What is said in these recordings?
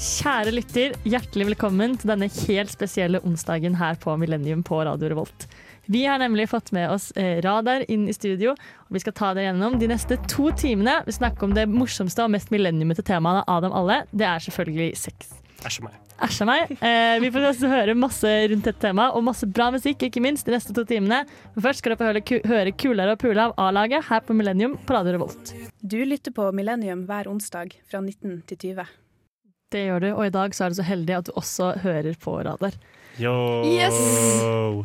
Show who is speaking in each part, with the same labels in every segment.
Speaker 1: Kjære lytter, hjertelig velkommen til denne helt spesielle onsdagen her på Millennium på Radio Revolt. Vi har nemlig fått med oss eh, Radar inn i studio, og vi skal ta dere gjennom de neste to timene. Vi snakker om det morsomste og mest millenniumete temaet av dem alle. Det er selvfølgelig sex.
Speaker 2: Æsj meg.
Speaker 1: Æsja meg. Eh, vi får også høre masse rundt dette temaet, og masse bra musikk, ikke minst, de neste to timene. Men først skal dere få høre, ku høre Kulere og Pula av A-laget her på Millennium på Radio Revolt.
Speaker 3: Du lytter på Millennium hver onsdag fra 19 til 20.
Speaker 1: Det gjør du, og i dag så er du så heldig at du også hører på Radar.
Speaker 2: Yo.
Speaker 4: Yes.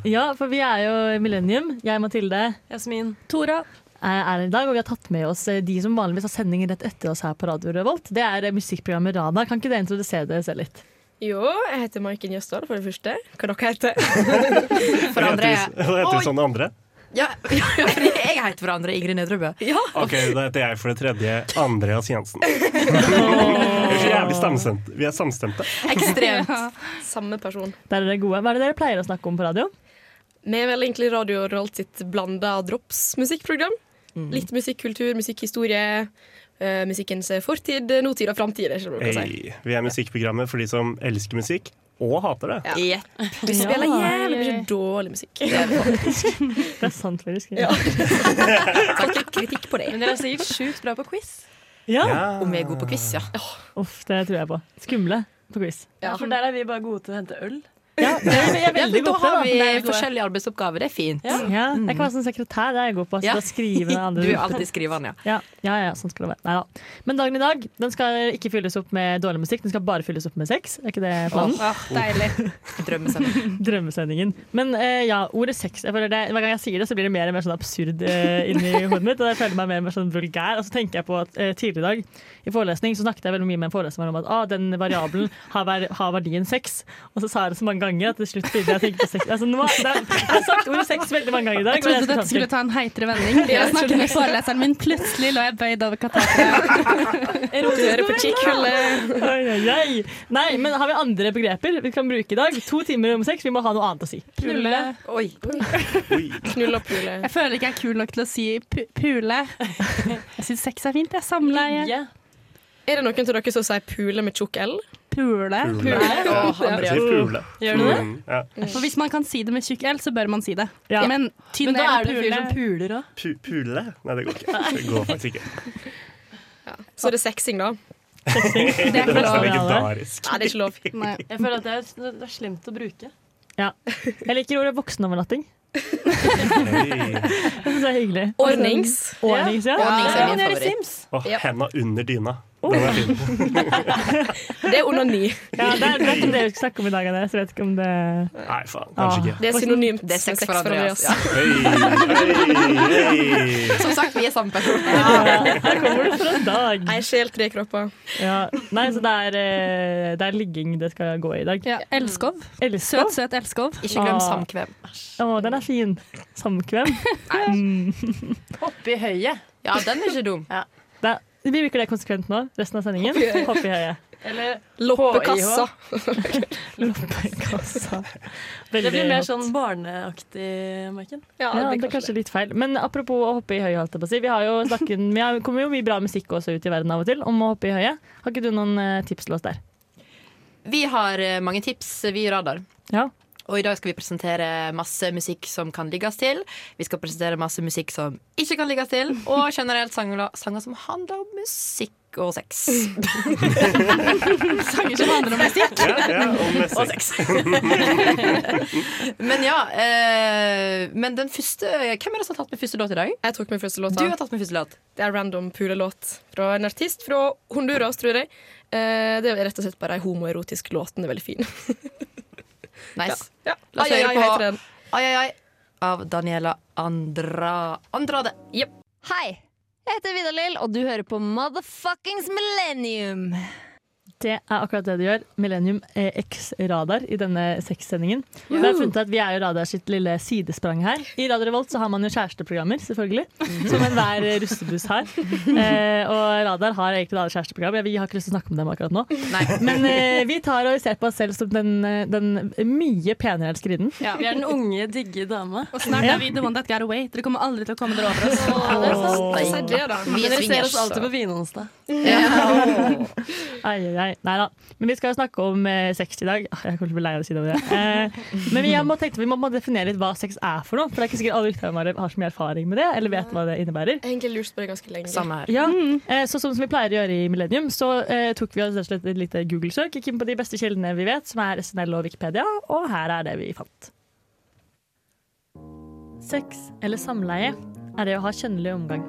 Speaker 1: Ja, for vi er jo Millennium. Jeg, Mathilde,
Speaker 4: Jasmin.
Speaker 1: Tora er her i dag, og vi har tatt med oss eh, de som vanligvis har sending rett etter oss her på Radio Revolt. Det er eh, musikkprogrammet Radar. Kan ikke dere introdusere dere selv litt?
Speaker 4: Jo, jeg heter Maiken Jøsdal, for det første. Hva dere heter
Speaker 2: For
Speaker 5: andre er-
Speaker 2: Heter, heter
Speaker 5: Oi.
Speaker 2: du sånn det andre?
Speaker 5: Ja, ja, ja, fordi jeg heter hverandre Ingrid Nedrebø.
Speaker 2: OK, da heter jeg for det tredje Andreas Jensen. Vi er så jævlig stamstemte. Vi er samstemte.
Speaker 5: Ekstremt.
Speaker 4: Samme person.
Speaker 1: Der er dere gode. Hva er det dere pleier å snakke om på radio?
Speaker 4: Vi er vel egentlig Radio Rolt sitt blanda drops-musikkprogram.
Speaker 1: Mm.
Speaker 4: Litt musikk, kultur, musikk, historie. eh, musikkens fortid, nåtid og framtid. er ikke det man kan si.
Speaker 2: Hey. Vi er musikkprogrammet for de som elsker musikk og hater det.
Speaker 4: Ja.
Speaker 5: Jepp.
Speaker 4: Vi spiller
Speaker 1: Ja.
Speaker 4: jævlig mye dårlig musikk.
Speaker 1: Det er sant, faktisk.
Speaker 4: Ja. Takk ikke kritikk på det.
Speaker 6: Men dere er sikkert sjukt bra på quiz.
Speaker 1: ja.
Speaker 2: Ja.
Speaker 5: Om vi er gode på quiz, ja.
Speaker 1: Uff, det tror jeg på. Skumle på quiz.
Speaker 4: Ja.
Speaker 6: For der er vi bare gode til å hente øl.
Speaker 1: Ja, det er, jeg er
Speaker 5: ja
Speaker 1: veldig
Speaker 5: da
Speaker 1: god på
Speaker 5: har
Speaker 1: det.
Speaker 5: vi
Speaker 6: Nei, gode.
Speaker 5: forskjellige arbeidsoppgaver. Det er fint.
Speaker 6: Ja.
Speaker 1: Ja, jeg kan være sånn sekretær, det er jeg god på. Så
Speaker 5: Ja.
Speaker 1: da skrive ned
Speaker 5: Du
Speaker 1: andre
Speaker 5: er alltid skrivende, ja.
Speaker 1: Ja, ja, ja, sånn skal det være. Neida. Men dagen i dag den skal ikke fylles opp med dårlig musikk, den skal bare fylles opp med sex. Er ikke det planen?
Speaker 6: deilig.
Speaker 5: Drømmesending.
Speaker 1: Drømmesendingen. Men eh, ja, ordet sex. Jeg føler det, hver gang jeg sier det, så blir det mer og mer sånn absurd eh, inni hodet mitt. Og jeg føler meg mer og mer sånn vulgær. Og så tenker jeg på at eh, tidligere i dag i forelesning så snakket jeg veldig mye med en foreleser om at ah, den variabelen har, ver har verdien sex. Og så sa jeg det så mange ganger at til slutt begynte jeg å tenke på sex. Altså, nå, det er, jeg har sagt ordet sex veldig mange ganger i dag. men
Speaker 7: Jeg
Speaker 1: skal
Speaker 7: trodde dette
Speaker 1: fram til-
Speaker 7: skulle ta en heitere vending. Jeg snakket med foreleseren min, plutselig lå jeg bøyd over kateteret.
Speaker 4: Du hører på Chick-hullet.
Speaker 1: Oi, oi, oi. Nei, men har vi andre begreper vi kan bruke i dag? To timer om sex, vi må ha noe annet å si.
Speaker 7: Pule.
Speaker 5: Oi.
Speaker 2: Oi.
Speaker 4: Knull og pule.
Speaker 7: Jeg føler ikke jeg er kul nok til å si pu pule. Jeg syns sex er fint. Jeg samleier.
Speaker 6: Yeah.
Speaker 4: Er det noen av dere som sier pule med tjukk L?
Speaker 7: Pule.
Speaker 2: Pule.
Speaker 5: Åh,
Speaker 2: Jeg
Speaker 5: Andreas.
Speaker 2: sier pule.
Speaker 6: Gjør du det?
Speaker 2: Mm, ja.
Speaker 7: For hvis man kan si det med tjukk L, så bør man si det.
Speaker 1: Ja.
Speaker 7: Men tynn
Speaker 6: Men da
Speaker 7: L
Speaker 6: er
Speaker 7: og
Speaker 6: det fyr
Speaker 7: pule
Speaker 6: som puler òg.
Speaker 2: Pu pule? Nei, det går ikke. Det går faktisk ikke.
Speaker 4: Så er det sexing, da.
Speaker 7: Det er
Speaker 2: Det
Speaker 7: ikke
Speaker 2: er
Speaker 7: lov.
Speaker 2: legendarisk.
Speaker 4: Nei, det er ikke lov.
Speaker 7: Nei.
Speaker 6: Jeg føler at det er, det er slemt å bruke.
Speaker 1: Jeg liker ordet voksenovernatting.
Speaker 2: Hey.
Speaker 1: Det synes jeg er hyggelig.
Speaker 4: Ordnings.
Speaker 1: Ordnings, ja.
Speaker 5: Ordnings er
Speaker 6: men
Speaker 5: min
Speaker 6: det i
Speaker 5: favoritt.
Speaker 6: Sims.
Speaker 2: Og
Speaker 4: Ja.
Speaker 2: henda under dyna. Den er fin.
Speaker 4: Det er onani.
Speaker 1: ja det er det er ikke det vi skal snakke om i dag, Anne, så jeg vet ikke om det
Speaker 2: Nei, faen. Kanskje ikke.
Speaker 4: Det er synonymt
Speaker 5: Det er sex for Andreas. Ja.
Speaker 2: Hey. Hey.
Speaker 5: Som sagt, vi er samme person.
Speaker 1: Her kommer det fra dag.
Speaker 4: Ei sjel, tre kropper.
Speaker 1: Ja. Nei, så det er, eh, det er ligging det skal gå i i dag.
Speaker 7: Ja. Elskov.
Speaker 1: Elskov.
Speaker 7: Søt, søt elskov.
Speaker 5: Ikke glem
Speaker 1: Ah.
Speaker 5: samkvem.
Speaker 1: Å, den er fin. Samkvem. Mm.
Speaker 6: Hoppe i høyet.
Speaker 5: Ja, den er ikke dum.
Speaker 1: Da- Vi bruker det konsekvent nå, resten av sendingen. Hopp i høyet.
Speaker 6: Eller
Speaker 4: Loppekassa.
Speaker 1: Loppekassa.
Speaker 6: Det blir mer
Speaker 1: hopp.
Speaker 6: sånn barneaktig, Maiken.
Speaker 4: Ja,
Speaker 1: Ja, det er kanskje litt feil. Men apropos å hoppe i høye, holdt jeg på å si. Vi har jo snakket, vi har, kommer jo mye bra musikk også ut i verden av og til om å hoppe i høye. Har ikke du noen eh, tips til oss der?
Speaker 5: Vi har eh, mange tips, vi i Radar.
Speaker 1: Ja.
Speaker 5: Og i dag skal vi presentere masse musikk som kan ligges til. Vi skal presentere masse musikk som ikke kan ligges til. Og generelt sanger, sanger som handler om musikk og sex.
Speaker 7: Sanger som handler om musikk.
Speaker 2: Ja, ja, og med
Speaker 5: Og
Speaker 2: sex.
Speaker 5: sex. men ja. Eh, men den første Hvem er det som har tatt med første låt i dag?
Speaker 4: Jeg tok min første
Speaker 5: Du
Speaker 4: låta.
Speaker 5: har tatt med første låt.
Speaker 4: Det er random pulelåt fra en artist fra Honduras, tror jeg. Eh, Det er rett og slett bare ei homoerotisk låt. Den er veldig fin.
Speaker 5: Nice.
Speaker 4: Ja.
Speaker 5: La oss
Speaker 4: Ai,
Speaker 5: høre
Speaker 4: ai,
Speaker 5: på-
Speaker 4: heter den.
Speaker 5: Ai, ai, ai. Av Daniela Andra Andrade.
Speaker 8: Hei! Jeg heter Vidar Lill, og du hører på Motherfuckings Millennium.
Speaker 1: Det er akkurat det du gjør. Millennium eh, X Radar i denne sexsendingen. Vi har funnet ut at vi er jo Radar sitt lille sidesprang her. I Radio Revolt så har man jo kjæresteprogrammer, selvfølgelig. Som enhver eh, russebuss har. Eh, og Radar har egentlig alle kjæresteprogram. Jeg- Vi har ikke lyst til å snakke om dem akkurat nå.
Speaker 5: Nei.
Speaker 1: Men eh, vi tar og ser på oss selv som den, eh, den mye penere elskerinnen.
Speaker 6: Vi er den unge, digge dama.
Speaker 7: Og snart er vi the one that got away. Dere kommer aldri til å komme dere over oss.
Speaker 4: Si det, da.
Speaker 5: Vi
Speaker 6: Men
Speaker 5: er
Speaker 6: dere ser oss
Speaker 5: swingers.
Speaker 6: alltid på Vinonsdag.
Speaker 5: Ja.
Speaker 1: Ai, ai, ai. Nei da. Men vi skal jo snakke om eh, sex i dag. Ah, Jeg kommer til å bli lei av å si det ordet. Eh, men vi må, tenkte vi må, må definere litt hva sex er for noe. For det er ikke sikkert alle lytterne våre har så mye erfaring med det, eller vet hva det innebærer.
Speaker 4: Jeg har egentlig lurt på det ganske lenge.
Speaker 5: Samme her.
Speaker 1: Ja, eh, så som vi pleier å gjøre i Millennium, så eh, tok vi oss rett og slett et lite Google-søk. Gikk inn på de beste kildene vi vet, som er SNL og Wikipedia, og her er det vi fant. Sex eller samleie er det å ha kjønnelig omgang.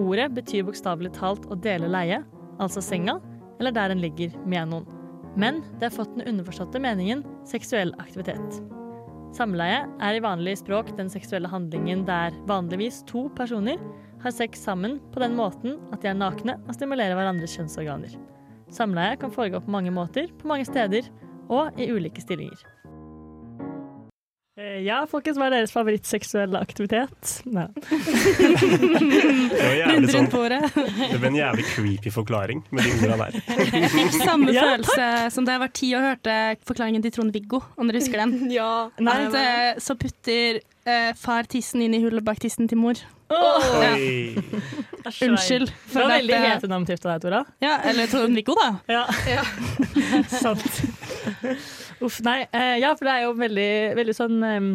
Speaker 1: Ordet betyr bokstavelig talt å dele leie, altså senga, eller der en ligger med noen. Men det har fått den underforståtte meningen seksuell aktivitet. Samleie er i vanlig språk den seksuelle handlingen der vanligvis to personer har sex sammen på den måten at de er nakne og stimulerer hverandres kjønnsorganer. Samleie kan foregå på mange måter, på mange steder og i ulike stillinger. Eh, Ja, folkens, hva er deres favorittseksuelle aktivitet? Nei.
Speaker 2: Det var jævlig
Speaker 7: Rundt
Speaker 2: sånn,
Speaker 7: rundt bordet.
Speaker 2: det var en jævlig creepy forklaring med de ordene der.
Speaker 7: Fikk samme
Speaker 1: Ja,
Speaker 7: følelse som da jeg var ti og hørte forklaringen til Trond-Viggo, om dere husker den.
Speaker 4: Ja.
Speaker 7: At, eh, så putter eh, far tissen inn i hullet bak tissen til mor. Ja.
Speaker 2: Oi.
Speaker 7: Unnskyld.
Speaker 1: Det var veldig
Speaker 7: dette-
Speaker 1: hetenomtift av deg, Tora.
Speaker 7: ja, eller Trond-Viggo, da.
Speaker 1: Ja. Sant. Uff, nei. eh, Ja, for det er jo veldig, veldig sånn em,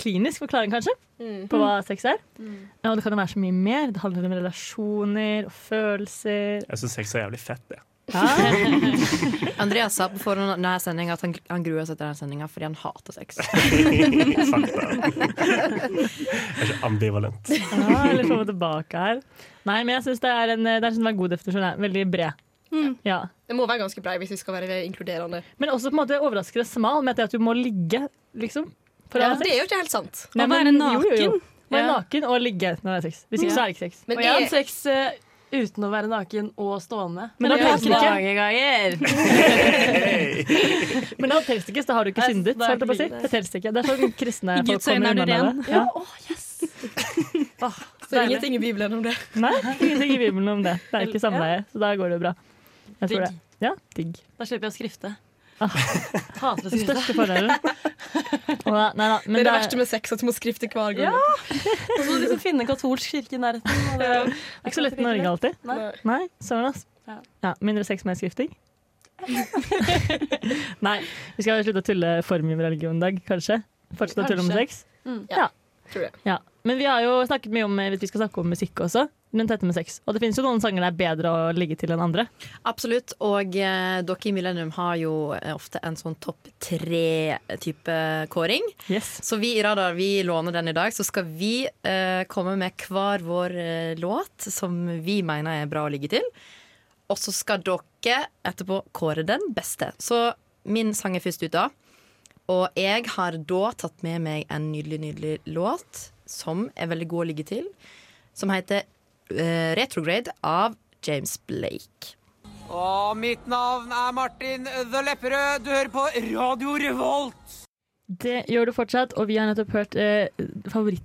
Speaker 1: klinisk forklaring, kanskje,
Speaker 4: Mm.
Speaker 1: på hva sex er. Ja, Og det kan jo være så mye mer. Det handler om relasjoner og følelser.
Speaker 2: Jeg syns sex er jævlig fett, det.
Speaker 5: Andreas sa på forhånd av denne sendingen at han, han gruer seg til denne sendinga fordi han hater sex.
Speaker 2: Sagt da. Jeg er så ambivalent.
Speaker 1: Ja, eller få meg liksom tilbake her. Nei, men jeg synes det er en, det er en sånn god definisjon. her. Veldig bred. Ja.
Speaker 4: Det må være ganske brei hvis vi skal være inkluderende.
Speaker 1: Men også på en måte overraskende smal med at det at du må ligge, liksom. For å
Speaker 4: Ja,
Speaker 1: ha
Speaker 4: det
Speaker 1: sex.
Speaker 4: er jo ikke helt sant.
Speaker 1: Nei,
Speaker 7: Å
Speaker 1: men-
Speaker 7: være
Speaker 1: jo, jo, jo.
Speaker 7: naken.
Speaker 1: Være
Speaker 6: Ja.
Speaker 1: naken og ligge når det er sex. Hvis ikke, så er det ikke sex.
Speaker 4: Men
Speaker 6: og jeg har
Speaker 4: jeg-
Speaker 6: hatt sex eh, uten å være naken og stående.
Speaker 1: Men da
Speaker 6: har
Speaker 1: tenkte ikke.
Speaker 6: mange ganger.
Speaker 1: Men det telles ikke, så da har du ikke
Speaker 6: Nei,
Speaker 1: syndet.
Speaker 6: da er
Speaker 1: holdt jeg på å si.
Speaker 6: det ikke-
Speaker 1: Det telles ikke. Det er sånn kristne
Speaker 7: I
Speaker 1: folk
Speaker 7: Guds
Speaker 1: kommer
Speaker 7: øyne er
Speaker 1: unna
Speaker 7: du
Speaker 1: med.
Speaker 7: ren.
Speaker 1: det. Ja.
Speaker 4: Så det er ingenting i Bibelen om det.
Speaker 1: Nei, ingenting i Bibelen om det. Det er ikke samleie, så da går det jo bra. Jeg tror det.
Speaker 6: Digg.
Speaker 1: Ja, digg.
Speaker 6: Da slipper jeg å skrifte.
Speaker 1: Ah.
Speaker 6: Hater å
Speaker 1: Den
Speaker 6: skrifte.
Speaker 1: største fordelen. Å, Nei da.
Speaker 4: Det
Speaker 1: Men
Speaker 4: er det
Speaker 1: det er-
Speaker 4: verste med sex, at du må skrifte hver gang.
Speaker 6: Og så må du liksom finne en katolsk kirke i nærheten. og det-
Speaker 1: Det er ikke så lett i Norge alltid.
Speaker 6: Nei.
Speaker 1: Nei, søren ass.
Speaker 6: Ja.
Speaker 1: Ja, mindre sex, mer skrifting. Nei, vi skal slutte å tulle for mye med religion i dag, kanskje. Fortsette å tulle om
Speaker 6: Kanskje. Mm.
Speaker 1: sex.
Speaker 4: Tror jeg.
Speaker 1: Ja. Men vi har jo snakket mye om eh, vi skal snakke om musikk også, rundt dette med sex. Og det finnes jo noen sanger det er bedre å ligge til enn andre.
Speaker 5: Absolutt. Og eh, dere i Millennium har jo eh, ofte en sånn topp tre-type kåring.
Speaker 1: Yes.
Speaker 5: Så vi i Radar vi låner den i dag, så skal vi eh, komme med hver vår eh, låt som vi mener er bra å ligge til. Og så skal dere etterpå kåre den beste. Så min sang er først ut da. Og jeg har da tatt med meg en nydelig, nydelig låt som er veldig god å ligge til. Som heter eh, Retrograde av James Blake.
Speaker 9: Og mitt navn er Martin The Lepperød. Du hører på Radio Revolt.
Speaker 1: Det gjør du fortsatt, og vi har nettopp hørt eh,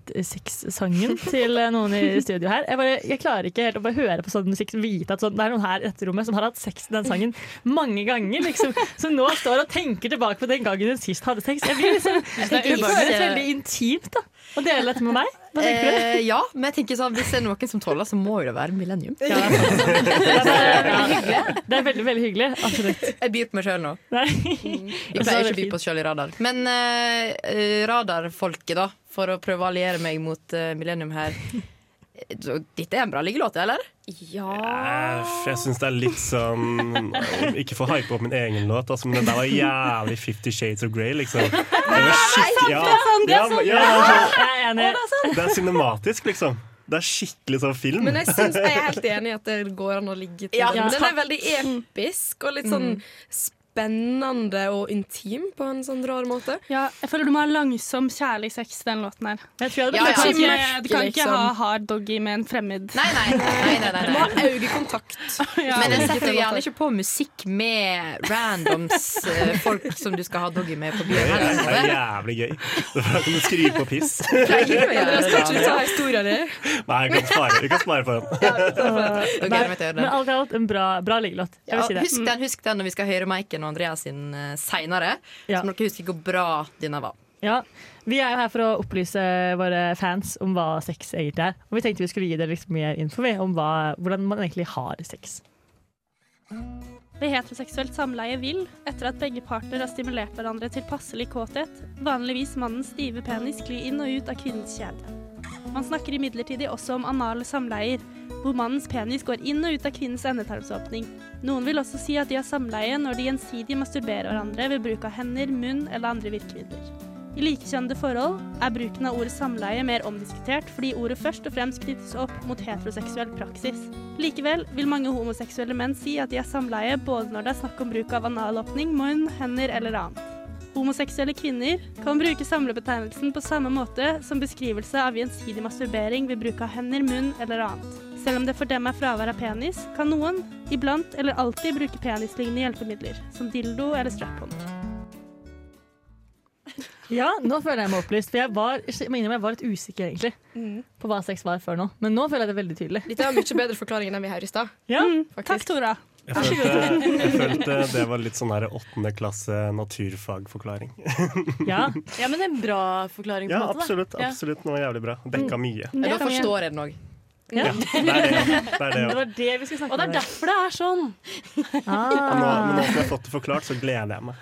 Speaker 1: favorittsexsangen til eh, noen i studio her. Jeg, bare, jeg klarer ikke helt å bare høre på sånn musikk vite at sånn, det er noen her i dette rommet som har hatt sex til den sangen mange ganger, liksom, som nå står og tenker tilbake på den gangen hun sist hadde sex. Jeg blir liksom, det
Speaker 5: tenker ikke-
Speaker 1: føles veldig intimt da, å dele dette med meg. Hva tenker du?
Speaker 5: Eh, ja, men jeg tenker sånn, hvis det er noen som tåler, så må jo det være Millennium.
Speaker 1: Det er, det er veldig, veldig hyggelig. Absolutt. Altså,
Speaker 5: Jeg byr på meg sjøl nå.
Speaker 1: Nei.
Speaker 5: Vi
Speaker 1: Og så er det
Speaker 5: pleier ikke å by
Speaker 1: fint.
Speaker 5: på oss sjøl i radar. Men eh, eh, radarfolket, da, for å prøve å alliere meg mot eh, Millennium her. Så Dette er en bra liggelåt, eller?
Speaker 2: Æsj, Jeg syns det er litt sånn Ikke for å hype opp min egen låt, altså, men den der var jævlig Fifty Shades of Grey, liksom. Det var skikkelig ja, ja, men- ja, altså,
Speaker 1: Jeg er enig.
Speaker 2: Det er cinematisk, liksom. Det er skikkelig sånn film.
Speaker 4: Men jeg, synes, jeg er helt enig i at det går an å ligge til.
Speaker 5: Ja,
Speaker 4: den. den
Speaker 5: takk.
Speaker 4: er veldig episk og litt sånn spennende og intim på en sånn rar måte.
Speaker 7: Ja, jeg føler du må ha langsom, kjærlig sex til den låten her.
Speaker 1: Jeg tror jeg hadde
Speaker 5: Ja, ja.
Speaker 7: Du
Speaker 1: blitt
Speaker 7: kan
Speaker 1: ganske-
Speaker 7: ikke, du kan ikke
Speaker 4: Liksom.
Speaker 7: ha hard doggy med en fremmed.
Speaker 5: Nei, nei. nei, nei, nei,
Speaker 4: Du må
Speaker 5: nei.
Speaker 4: ha øyekontakt.
Speaker 7: Ja.
Speaker 5: Men jeg setter jo gjerne ikke på musikk med randoms eh, folk som du skal ha doggy med på
Speaker 2: Det
Speaker 5: byen.
Speaker 2: er, det er
Speaker 5: heller.
Speaker 2: jævlig gøy. Da kan du skrive på piss.
Speaker 5: Pleier å gjøre
Speaker 4: Jeg
Speaker 5: det.
Speaker 4: skal ikke ta historien din.
Speaker 2: Nei, jeg kan spare, vi kan spare for den.
Speaker 1: Eh, Men
Speaker 5: Da gleder jeg meg til å gjøre den.
Speaker 1: alt i alt en bra, bra liggelåt. Jeg
Speaker 5: Ja,
Speaker 1: vil si det.
Speaker 5: husk den husk den når vi skal høre Maiken og Andreas sin uh, seinere.
Speaker 1: Ja.
Speaker 5: Så må dere huske hvor bra denne var.
Speaker 1: Ja, Vi er jo her for å opplyse våre fans om hva sex egentlig er. Og vi tenkte vi skulle gi dere litt mer info vi, om hva, hvordan man egentlig har sex.
Speaker 7: Ved heteroseksuelt samleie vil, etter at begge parter har stimulert hverandre til passelig kåthet, vanligvis mannens stive penis gli inn og ut av kvinnens kjede. Man snakker imidlertid også om anale samleier, hvor mannens penis går inn og ut av kvinnens endetarmsåpning. Noen vil også si at de har samleie når de gjensidig masturberer hverandre ved bruk av hender, munn eller andre virkemidler. I likekjønnede forhold er bruken av ordet samleie mer omdiskutert, fordi ordet først og fremst knyttes opp mot heteroseksuell praksis. Likevel vil mange homoseksuelle menn si at de har samleie både når det er snakk om bruk av analåpning, munn, hender eller annet. Homoseksuelle kvinner kan bruke samlebetegnelsen på samme måte som beskrivelse av gjensidig masturbering ved bruk av hender, munn eller annet. Selv om det for dem er fravær av penis, kan noen, iblant eller alltid, bruke penislignende hjelpemidler, som dildo eller strap-on.
Speaker 1: Ja, nå føler jeg meg opplyst, for jeg var, jeg, må innrømme, jeg var litt usikker egentlig på hva sex var før nå. Men nå føler jeg det veldig tydelig.
Speaker 4: Dette er en mye bedre forklaring enn den vi har i stad.
Speaker 1: Ja,
Speaker 7: Mm, Takk,
Speaker 4: faktisk.
Speaker 7: Tora.
Speaker 2: Jeg følte, jeg følte det var litt sånn her åttende klasse naturfagforklaring.
Speaker 1: ja.
Speaker 6: Ja, men en bra forklaring på
Speaker 2: Ja,
Speaker 6: en måte. da.
Speaker 2: absolutt. absolutt, Den var jævlig bra.
Speaker 1: Mm.
Speaker 2: Dekka mye.
Speaker 5: Ja, Da
Speaker 7: kan vi-
Speaker 5: forstår jeg den òg.
Speaker 2: Ja, det er det òg. Det er det
Speaker 1: Det
Speaker 2: også.
Speaker 1: var det vi skulle
Speaker 6: Og
Speaker 1: snakke
Speaker 6: det er derfor det er sånn.
Speaker 2: Og Nå, men
Speaker 1: Ah,
Speaker 2: nå som jeg har fått det forklart, så gleder jeg meg.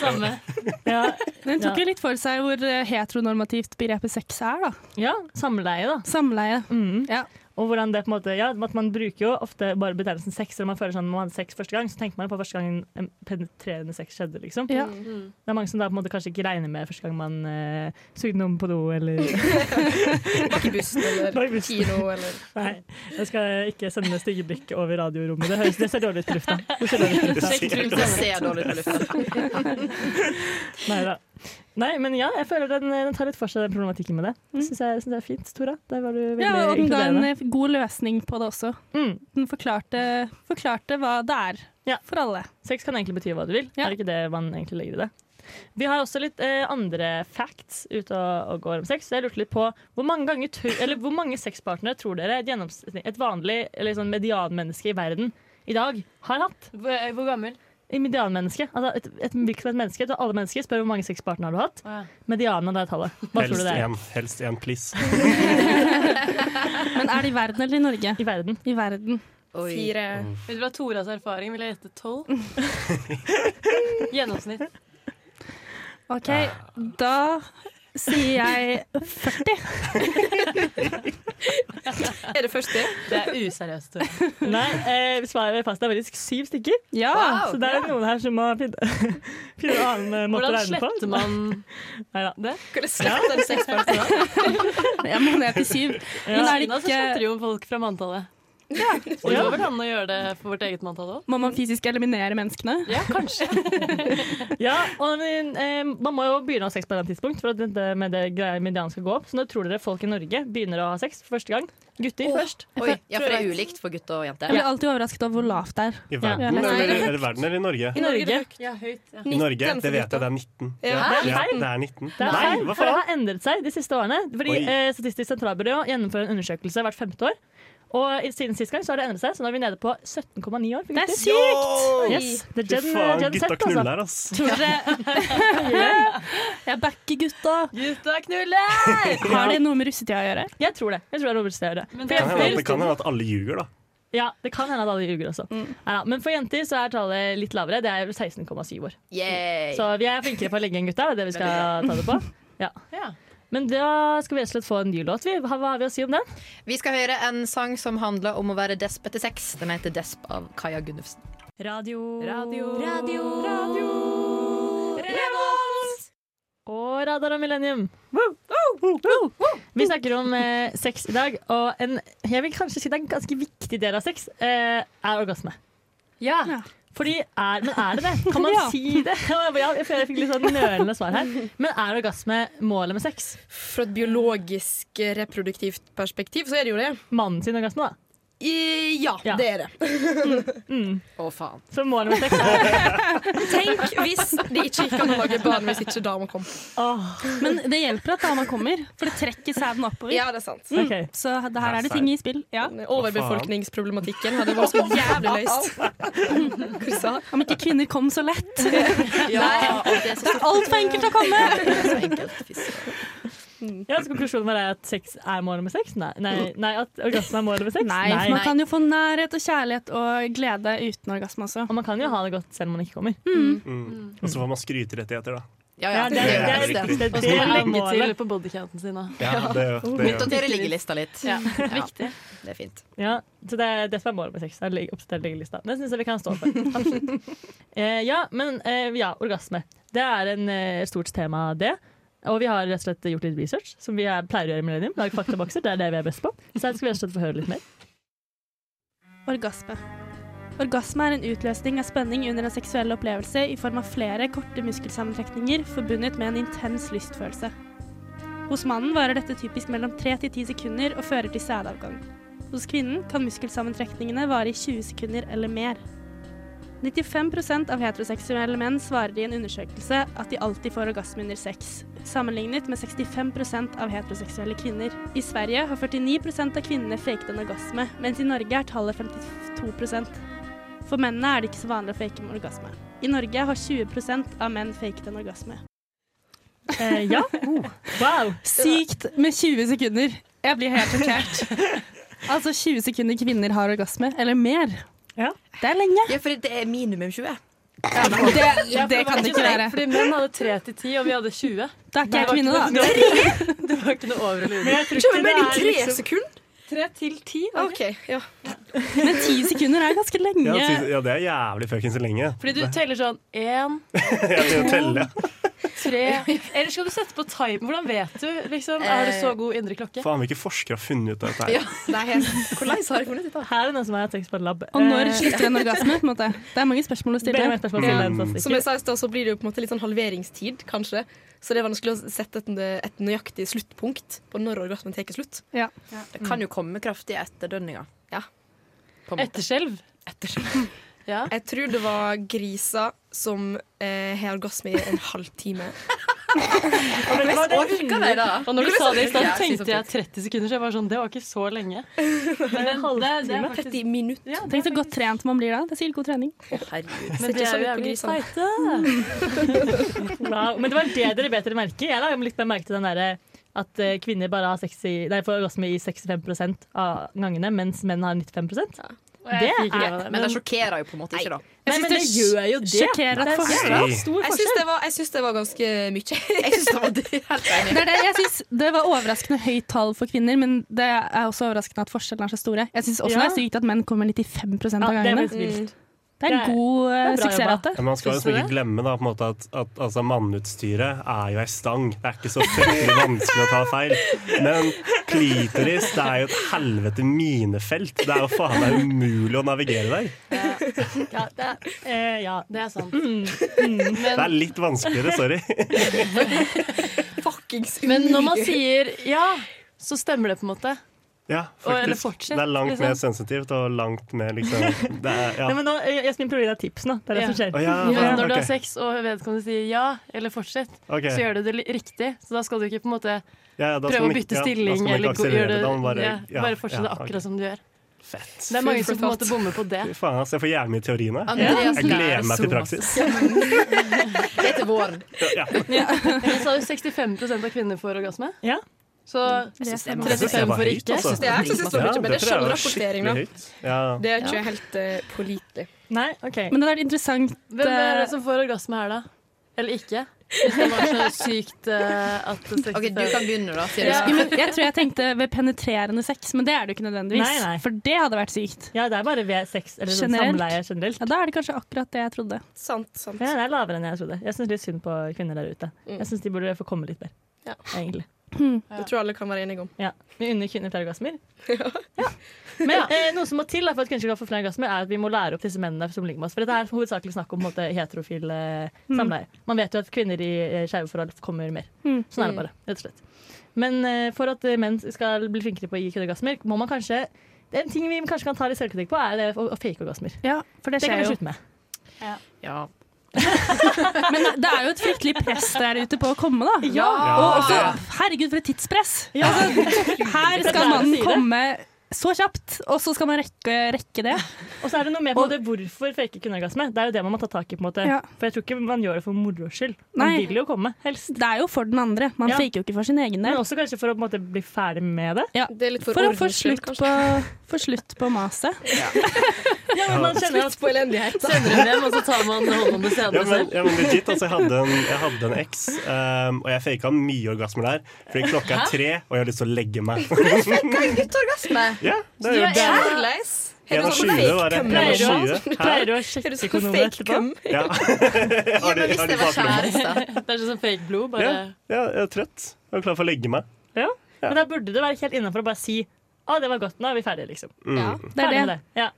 Speaker 6: Samme.
Speaker 1: ja.
Speaker 7: Den tok
Speaker 1: Ja.
Speaker 7: jo litt for seg hvor eh, heteronormativt begrepet sex er, da.
Speaker 1: ja, samleie, da.
Speaker 7: Samleie.
Speaker 1: Mm.
Speaker 7: Ja.
Speaker 1: Og hvordan det på en måte, ja, at Man bruker jo ofte bare betegnelsen sex når man føler sånn, når man hadde sex første gang. Så tenker man på første gang en penetrerende sex skjedde. liksom.
Speaker 7: Ja.
Speaker 4: Mm.
Speaker 1: Det er mange som da på en måte kanskje ikke regner med første gang man eh, sugde noen på do. eller...
Speaker 4: Bak i bussen
Speaker 1: Bak i
Speaker 4: eller
Speaker 1: bussen.
Speaker 4: kino eller
Speaker 1: Nei, jeg skal ikke sende stygge blikk over radiorommet. Det, høres, det ser dårlig ut på lufta. Det ser dårlig ut på lufta.
Speaker 5: Det ser dårlig ut på lufta.
Speaker 1: Neida. Nei, men ja, jeg føler den, den tar litt for seg den problematikken med det. Det syns jeg, synes jeg er fint, Tora. Der var du veldig
Speaker 7: Mm. ja, og den ga en
Speaker 1: inkluderende.
Speaker 7: eh, god løsning på det også.
Speaker 1: Mm.
Speaker 7: Den forklarte, forklarte hva det er
Speaker 1: Ja.
Speaker 7: for alle.
Speaker 1: Sex kan egentlig bety hva du vil.
Speaker 7: Ja.
Speaker 1: Er det ikke det man egentlig legger i det? Vi har også litt eh, andre facts ute og, og går om sex. Så jeg lurte litt på hvor mange, ganger tør, eller hvor mange sexpartnere tror dere et, gjennomsnitt- et vanlig eller sånn medianmenneske i verden i dag har hatt?
Speaker 6: Hvor, eh, hvor gammel?
Speaker 1: I medianmenneske. Altså et, et, hvilket som helst menneske, et av alle mennesker spør hvor mange sexpartnere har du hatt.
Speaker 6: Å, ja.
Speaker 1: Medianen av det tallet. Hva tror du
Speaker 2: Helst
Speaker 1: det er
Speaker 2: én, helst én, please.
Speaker 7: Men er det i verden eller i Norge?
Speaker 1: i verden?
Speaker 7: I verden.
Speaker 5: Oi.
Speaker 4: fire.
Speaker 6: Ut fra Toras erfaring vil jeg gjette tolv. Gjennomsnitt.
Speaker 7: OK, da sier jeg 40.
Speaker 4: Er det først det?
Speaker 6: Det er useriøst.
Speaker 1: Nei, eh, svaret fast er faktisk syv stykker.
Speaker 7: Ja!
Speaker 5: Wow.
Speaker 1: Så det er noen her som må finne, finne en annen eh, måte å
Speaker 6: Hvordan
Speaker 1: regne på.
Speaker 6: sletter man
Speaker 1: Neida.
Speaker 6: det?
Speaker 4: Kan jeg slette den sexparten? da?
Speaker 7: Jeg må ned til syv.
Speaker 1: Ja.
Speaker 7: Men er det
Speaker 6: Ina så sletter
Speaker 7: ikke
Speaker 6: jo folk fra manntallet. Og det
Speaker 1: Ja.
Speaker 6: går vel an å gjøre det for vårt eget manntall òg?
Speaker 7: Må man fysisk eliminere menneskene?
Speaker 6: Ja, kanskje.
Speaker 1: Ja, og eh, Man må jo begynne å ha sex på et eller annet tidspunkt for at dette med det greia median skal gå opp. Så nå tror dere folk i Norge begynner å ha sex for første gang? Gutter først?
Speaker 5: Oi. Ja, for det er ulikt for gutter og jenter.
Speaker 7: Jeg blir alltid overrasket over hvor lavt det er.
Speaker 2: I verden,
Speaker 7: Nei.
Speaker 2: eller, eller verden eller i Norge?
Speaker 1: I Norge.
Speaker 6: Ja, høyt. Ja.
Speaker 2: I Norge,
Speaker 4: 19 for
Speaker 2: det vet jeg,
Speaker 4: gutta.
Speaker 2: det er 19.
Speaker 4: Ja.
Speaker 2: ja, det er 19.
Speaker 1: Det er
Speaker 2: Nei,
Speaker 1: feil,
Speaker 2: hva
Speaker 1: for det
Speaker 2: faen?
Speaker 1: har endret seg de siste årene. Fordi
Speaker 2: Oi.
Speaker 1: eh, Statistisk sentralbyrå gjennomfører en undersøkelse hvert femte år. Og i- siden sist gang så har det endret seg, så nå er vi nede på 17,9 år.
Speaker 7: Det er
Speaker 1: gutter.
Speaker 2: Yo!
Speaker 1: Yes, det er
Speaker 2: Fy
Speaker 1: Gen,
Speaker 2: faen,
Speaker 1: gen Z,
Speaker 2: gutta
Speaker 1: altså.
Speaker 2: knuller, ass.
Speaker 7: Tror dere Jeg backer gutta.
Speaker 6: Gutta knuller!
Speaker 7: Har det noe med russetida å gjøre?
Speaker 1: Jeg tror det. Jeg tror det er overstedet.
Speaker 6: Men
Speaker 1: For
Speaker 6: det er
Speaker 2: Kan hende at
Speaker 1: jenter-
Speaker 2: det kan hende at alle ljuger, da.
Speaker 1: Ja, det kan hende at alle ljuger også. Neida, men for jenter så er tallet litt lavere. Det er 16,7 år.
Speaker 5: Yay.
Speaker 1: Så vi er flinkere på å legge enn gutta. Det er det vi skal ta det på. Ja.
Speaker 6: Ja.
Speaker 1: Men da skal vi rett og slett få en ny låt. Vi. Hva hva har vi å si om den?
Speaker 5: Vi skal høre en sang som handler om å være desp etter sex. Den heter 'Desp' av Kaja Gunnufsen.
Speaker 1: Radio.
Speaker 8: Radio.
Speaker 1: Og Radar og Millennium. Woo! Woo! Vi snakker om eh, sex i dag, og en, jeg vil kanskje si det er en ganske viktig del av sex eh, er orgasme.
Speaker 6: Ja.
Speaker 1: Fordi er, Men er det det? Kan man
Speaker 7: Ja.
Speaker 1: si det? Ja, jeg føler jeg fikk litt sånn nølende svar her. Men er orgasme målet med sex?
Speaker 4: Fra et biologisk eh, reproduktivt perspektiv, så er det jo det.
Speaker 1: Mannen sin orgasme, da.
Speaker 4: I, ja,
Speaker 1: Ja.
Speaker 4: det er det.
Speaker 5: Å, faen.
Speaker 1: Så målet med sex er
Speaker 4: Tenk hvis det ikke gikk an å lage barn hvis ikke dama kom.
Speaker 1: Åh,
Speaker 7: Men det hjelper at dama kommer, for det trekker sæden oppover.
Speaker 4: Ja, det er sant.
Speaker 1: OK.
Speaker 7: Så det her er det ting i spill. Ja.
Speaker 4: Overbefolkningsproblematikken hadde vært så jævlig løst. Hva sa
Speaker 7: Om ikke kvinner kom så lett.
Speaker 5: Ja, og det er så
Speaker 7: Altfor enkelt å komme!
Speaker 5: så enkelt. Fy søren.
Speaker 1: Ja, så konklusjonen var det at sex er målet med sex? Nei, nei, nei at orgasme er målet med sex?
Speaker 7: Nei, for man kan jo få nærhet og kjærlighet og glede uten orgasme også.
Speaker 1: Og man kan jo ha det godt selv om man ikke kommer.
Speaker 2: Mm. Og så får man skryterettigheter, da.
Speaker 5: Ja,
Speaker 1: Ja, det, det, er
Speaker 5: det.
Speaker 1: viktig.
Speaker 6: Og så
Speaker 1: det
Speaker 6: må
Speaker 1: er
Speaker 6: man legge til
Speaker 1: målet.
Speaker 6: på bodycounten sin. da.
Speaker 2: Ja, det, er jo- det, er jo-
Speaker 5: Oppdatere liggelista litt.
Speaker 6: Ja.
Speaker 5: Viktig. Det er fint.
Speaker 1: Ja, så det er det som er målet med sex. Det er lig- oppdatert liggelista. Det syns jeg vi kan stå for. Absolutt. Eh, ja, men eh, ja, orgasme. Det er en eh, stort tema, det. Og vi har rett og slett gjort litt research, som vi er, pleier å gjøre i Millennium. Lage faktabokser, det er det vi er best på. Så her skal vi rett og slett få høre litt mer.
Speaker 7: Orgasme. Orgasme er en utløsning av spenning under en seksuell opplevelse i form av flere korte muskelsammentrekninger forbundet med en intens lystfølelse. Hos mannen varer dette typisk mellom 3 til 10 sekunder og fører til sædavgang. Hos kvinnen kan muskelsammentrekningene vare i 20 sekunder eller mer. 95 av heteroseksuelle menn svarer i en undersøkelse at de alltid får orgasme under sex, sammenlignet med 65 av heteroseksuelle kvinner. I Sverige har 49 av kvinnene faket en orgasme, mens i Norge er tallet 52 For mennene er det ikke så vanlig å fake en orgasme. I Norge har 20 av menn faket en orgasme.
Speaker 1: Eh, ja. Wow.
Speaker 7: Sykt med 20 sekunder! Jeg blir helt sjokkert. altså 20 sekunder kvinner har orgasme, eller mer.
Speaker 1: Ja.
Speaker 7: Det er lenge.
Speaker 5: Ja, for det er minimum 20.
Speaker 7: Det, kan det ikke
Speaker 6: Nei,
Speaker 7: være.
Speaker 6: Fordi menn hadde 3 til 10, og vi hadde 20.
Speaker 7: Da er ikke jeg kvinne, da.
Speaker 6: Det var ikke noe over eller under.
Speaker 1: Men jeg tror ikke det er
Speaker 4: Tre
Speaker 1: liksom
Speaker 4: sekunder?
Speaker 6: 3 til 10. var det ikke?
Speaker 4: OK, ja.
Speaker 7: Men ti sekunder er ganske lenge.
Speaker 2: ja, ty- ja, det er jævlig fuckings lenge.
Speaker 6: Fordi du teller sånn 1,
Speaker 2: Jeg begynner å telle.
Speaker 6: 3 Eller skal du sette på time? Hvordan vet du? liksom? Har du så god indre klokke?
Speaker 2: Faen, hvilke forskere har funnet ut av dette her?
Speaker 5: Hvordan har jeg funnet dette?
Speaker 1: Her er noen som har hatt sex på et lab. Eh,
Speaker 7: Og
Speaker 6: Eh.
Speaker 7: når slutter en orgasme? på en måte? Det er mange spørsmål å
Speaker 1: Det er
Speaker 7: stille.
Speaker 1: et spørsmål til
Speaker 6: Mm.
Speaker 1: den
Speaker 4: Som
Speaker 1: statistikken.
Speaker 4: jeg sa i stad, så blir det jo på en måte litt sånn halveringstid, kanskje. Så det er vanskelig å sette et, et nøyaktig sluttpunkt på når orgasmen tar slutt.
Speaker 5: Det kan jo komme kraftige etterdønninger.
Speaker 4: Ja.
Speaker 5: På en måte.
Speaker 6: Etterskjelv.
Speaker 4: Jeg tror det var griser som eh, har orgasme i en halvtime.
Speaker 5: Orker de det?
Speaker 6: Og når du
Speaker 5: Det
Speaker 6: sa
Speaker 5: blir
Speaker 6: det i stad,
Speaker 5: så-
Speaker 6: tenkte jeg 30 sekunder, så jeg var sånn Det var ikke så lenge. Men det, det, det er faktisk
Speaker 4: 30 minutter.
Speaker 6: ja,
Speaker 7: Tenk så godt trent man blir da. Det er sikkert god trening.
Speaker 5: Å, herregud.
Speaker 6: Men de
Speaker 4: Ser ikke
Speaker 6: er
Speaker 4: sånn
Speaker 6: jo
Speaker 4: ut på
Speaker 6: jævlig liksom.
Speaker 4: grisene.
Speaker 6: feite.
Speaker 1: Wow. Men det var det dere bet dere merke i. Jeg la litt mer merke til den derre at eh, kvinner bare har sex i, nei, får orgasme i 65 av gangene, mens menn har 95 Det
Speaker 6: Jeg fikk ikke
Speaker 1: er
Speaker 6: av det,
Speaker 5: Men
Speaker 6: men-
Speaker 5: det sjokkerer jo på en måte ikke, da.
Speaker 1: Nei, men det gjør jo det.
Speaker 7: sjokkerer at
Speaker 1: Det er
Speaker 7: folk-
Speaker 1: så stor
Speaker 4: Jeg syns
Speaker 1: forskjell.
Speaker 4: det, var- jeg syns det var ganske mye.
Speaker 5: Jeg synes det var det helt enig.
Speaker 7: Det, er det, jeg synes det var overraskende høyt tall for kvinner, men det er også overraskende at forskjellene er så store. Jeg syns også
Speaker 1: Ja.
Speaker 7: det er sykt at menn kommer 95 av
Speaker 1: Ja, det er
Speaker 7: gangene.
Speaker 1: faktisk vilt.
Speaker 7: Det er
Speaker 1: det er-
Speaker 7: en god eh,
Speaker 1: det er bra
Speaker 7: suksessrate.
Speaker 2: Ja, men man skal
Speaker 6: Syns
Speaker 2: liksom
Speaker 6: du
Speaker 2: ikke glemme da, på en måte at, at altså, mannutstyret er jo ei stang. Det er ikke så fryktelig vanskelig å ta feil. Men klitoris det er jo et helvete minefelt. Det er jo faen meg umulig å navigere der.
Speaker 1: Ja, det er, eh, ja.
Speaker 6: Det er sant.
Speaker 2: Det er litt vanskeligere, sorry.
Speaker 4: Fuckings
Speaker 6: Men når man sier ja, så stemmer det på en måte.
Speaker 2: Ja,
Speaker 6: Og- eller
Speaker 2: faktisk.
Speaker 6: fortsett,
Speaker 2: Det er langt mer
Speaker 6: liksom.
Speaker 2: sensitivt og langt mer liksom det er,
Speaker 1: Nei,
Speaker 2: ja.
Speaker 1: men nå, eh, Jasmin prøver å gi deg tips nå. Det er det
Speaker 6: Ja.
Speaker 1: som skjer.
Speaker 2: Å, ja,
Speaker 6: Men
Speaker 2: ja,
Speaker 6: når du
Speaker 2: ok.
Speaker 6: har sex og vedkommende sier ja eller fortsett,
Speaker 2: Ok.
Speaker 6: så gjør du det li- riktig. Så da skal du ikke på en måte
Speaker 2: Ja, ja, da skal
Speaker 6: prøve
Speaker 2: man
Speaker 6: å
Speaker 2: ikke-
Speaker 6: bytte
Speaker 2: ja, da skal
Speaker 6: stilling
Speaker 2: man ikke
Speaker 6: eller gå-
Speaker 2: akselerere
Speaker 6: gjøre det
Speaker 2: det, da må man
Speaker 6: ja,
Speaker 2: ja,
Speaker 6: Bare fortsette
Speaker 2: ja, ok.
Speaker 6: akkurat som du gjør.
Speaker 2: Fett.
Speaker 6: Det er mange som på en måte bommer på det.
Speaker 2: Fy faen, ass, jeg får jævlig mye teori nå. jeg.
Speaker 5: Andreas
Speaker 2: Jeg gleder meg til
Speaker 5: lærer så
Speaker 2: praksis.
Speaker 5: masse. Det er til våren.
Speaker 6: Jeg sa jo 65 av kvinner får orgasme.
Speaker 1: Ja.
Speaker 6: Så
Speaker 5: synes det er
Speaker 6: 35 får ikke.
Speaker 2: altså.
Speaker 4: Det er, jeg synes det står mye, men det er selvrapportering, da.
Speaker 2: skikkelig høyt. Ja.
Speaker 4: Det er ikke helt eh, pålitelig.
Speaker 1: Nei, ok.
Speaker 7: Men det hadde vært interessant
Speaker 6: Hvem
Speaker 7: eh,
Speaker 6: er det som får orgasme her, da? Eller ikke? Hvis det var så sykt eh, at 65
Speaker 5: Ok, du kan begynne, da. Sier
Speaker 6: Ja.
Speaker 5: du.
Speaker 7: Jo, men Jeg tror jeg tenkte ved penetrerende sex, men det er det jo ikke nødvendigvis.
Speaker 1: Nei, nei.
Speaker 7: For det hadde vært sykt.
Speaker 1: Ja, det er bare ved sex eller sånn
Speaker 7: Generelt.
Speaker 1: samleie generelt.
Speaker 7: Ja, Da er det kanskje akkurat det jeg trodde.
Speaker 4: Sant, sant.
Speaker 1: Ja, det er lavere enn jeg trodde. Jeg syns litt synd på kvinner der ute.
Speaker 6: Mm.
Speaker 1: Jeg syns de burde få komme litt mer.
Speaker 4: Ja.
Speaker 1: Egentlig.
Speaker 4: Det tror jeg alle kan være enige om.
Speaker 1: Ja. Vi unner kvinner flere orgasmer. Ja. Men eh, noe som må til da, for at kvinner skal få flere orgasmer, er at vi må lære opp disse mennene som ligger med oss. For dette er hovedsakelig snakk om på en måte, heterofile
Speaker 7: Mm.
Speaker 1: samleier. Man vet jo at kvinner i eh, skeive forhold kommer mer.
Speaker 7: Mm.
Speaker 1: Sånn er det bare, rett og slett. Men eh, for at eh, menn skal bli flinkere på å gi kvinneorgasmer, må man kanskje det er En ting vi kanskje kan ta litt selvkritikk på, er det å, å fake orgasmer.
Speaker 7: Ja, for
Speaker 1: Det kan vi slutte med.
Speaker 5: Ja.
Speaker 7: Men det er jo et fryktelig press der ute på å komme, da.
Speaker 1: Ja.
Speaker 7: Og også, herregud, for et tidspress! Altså, her skal
Speaker 1: det er
Speaker 7: mannen
Speaker 1: det jeg sier.
Speaker 7: komme så kjapt, og så skal man rekke, rekke det.
Speaker 1: Og så er det noe med på det hvorfor fake kvinneorgasme. Det er jo det man må ta tak i. på en måte
Speaker 7: Ja.
Speaker 1: For jeg tror ikke man gjør det for moro skyld. Man
Speaker 7: Nei.
Speaker 1: vil jo komme, helst.
Speaker 7: Det er jo for den andre. Man
Speaker 1: Ja.
Speaker 7: faker jo ikke for sin egen
Speaker 1: Men
Speaker 7: del.
Speaker 1: også kanskje for å på en måte bli ferdig med det.
Speaker 7: Ja.
Speaker 4: Det er litt for,
Speaker 7: For å få
Speaker 4: ordens skyld,
Speaker 7: slutt
Speaker 4: kanskje.
Speaker 7: på, få slutt på maset.
Speaker 1: Man kjenner
Speaker 4: Slutt på elendighet. da.
Speaker 6: Sender dem hjem, og så tar man hånd om det
Speaker 2: Ja,
Speaker 6: senere
Speaker 2: men,
Speaker 6: selv.
Speaker 2: ja, men legit, altså, jeg hadde en, jeg hadde en eks, ehm, og jeg faka mye orgasmer der. Fordi klokka er tre, og jeg har lyst til å legge meg.
Speaker 5: Orgasme.
Speaker 2: ja, det
Speaker 5: Du
Speaker 2: er
Speaker 5: er
Speaker 2: jo det.
Speaker 5: en-
Speaker 4: Leis. Har
Speaker 2: En
Speaker 4: du
Speaker 2: av
Speaker 4: sånn
Speaker 2: 20 var det. En
Speaker 4: fake-cum?
Speaker 2: av
Speaker 1: Pleier du å-
Speaker 2: 20. Hæ?
Speaker 1: Pleier du å
Speaker 4: Har du
Speaker 1: sjekke
Speaker 4: sånn
Speaker 1: kondomet etterpå?
Speaker 4: fake-cum?
Speaker 2: Ja.
Speaker 5: Ja,
Speaker 2: Har du,
Speaker 5: men hvis
Speaker 2: har du
Speaker 5: det var
Speaker 2: baklommen?
Speaker 5: kjæreste.
Speaker 6: Det er ikke sånn fake blod, bare
Speaker 2: Ja, ja, jeg er trøtt. Jeg er klar for å legge meg.
Speaker 1: Ja. Men da burde det være helt innafor å bare si Å, det var godt, nå er vi ferdige, liksom.
Speaker 2: Mm.
Speaker 4: Ja.
Speaker 7: Det
Speaker 1: Ferdig
Speaker 7: er
Speaker 1: med
Speaker 7: det.
Speaker 1: det.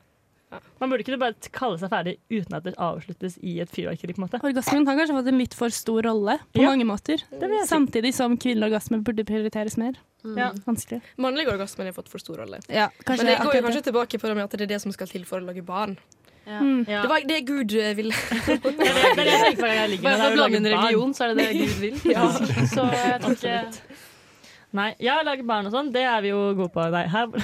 Speaker 1: Ja. Man burde ikke bare t- kalle seg ferdig uten at det avsluttes i et fyrverkeri, på en måte.
Speaker 7: Orgasmen har kanskje fått en litt for stor rolle på
Speaker 1: Ja.
Speaker 7: mange måter. Samtidig som kvinnelig orgasme burde prioriteres mer.
Speaker 6: Mm.
Speaker 1: Ja.
Speaker 7: Vanskelig.
Speaker 4: Mannlig orgasme har fått for stor rolle.
Speaker 7: Ja, kanskje
Speaker 4: Men det Mm. går jo
Speaker 7: akkurat
Speaker 4: kanskje tilbake på det med at det er det som skal til for å lage barn.
Speaker 1: Ja.
Speaker 4: Det var det Gud eh, ville.
Speaker 1: Det er det jeg tenker hver gang jeg ligger
Speaker 6: Bare for
Speaker 1: med
Speaker 6: å
Speaker 1: deg og
Speaker 6: blande inn
Speaker 1: lager barn.
Speaker 6: religion, så er det det Gud vil.
Speaker 1: Ja, så jeg tror ikke Nei, ja, å lage barn og sånn, det er vi jo gode på. Nei, her, hvor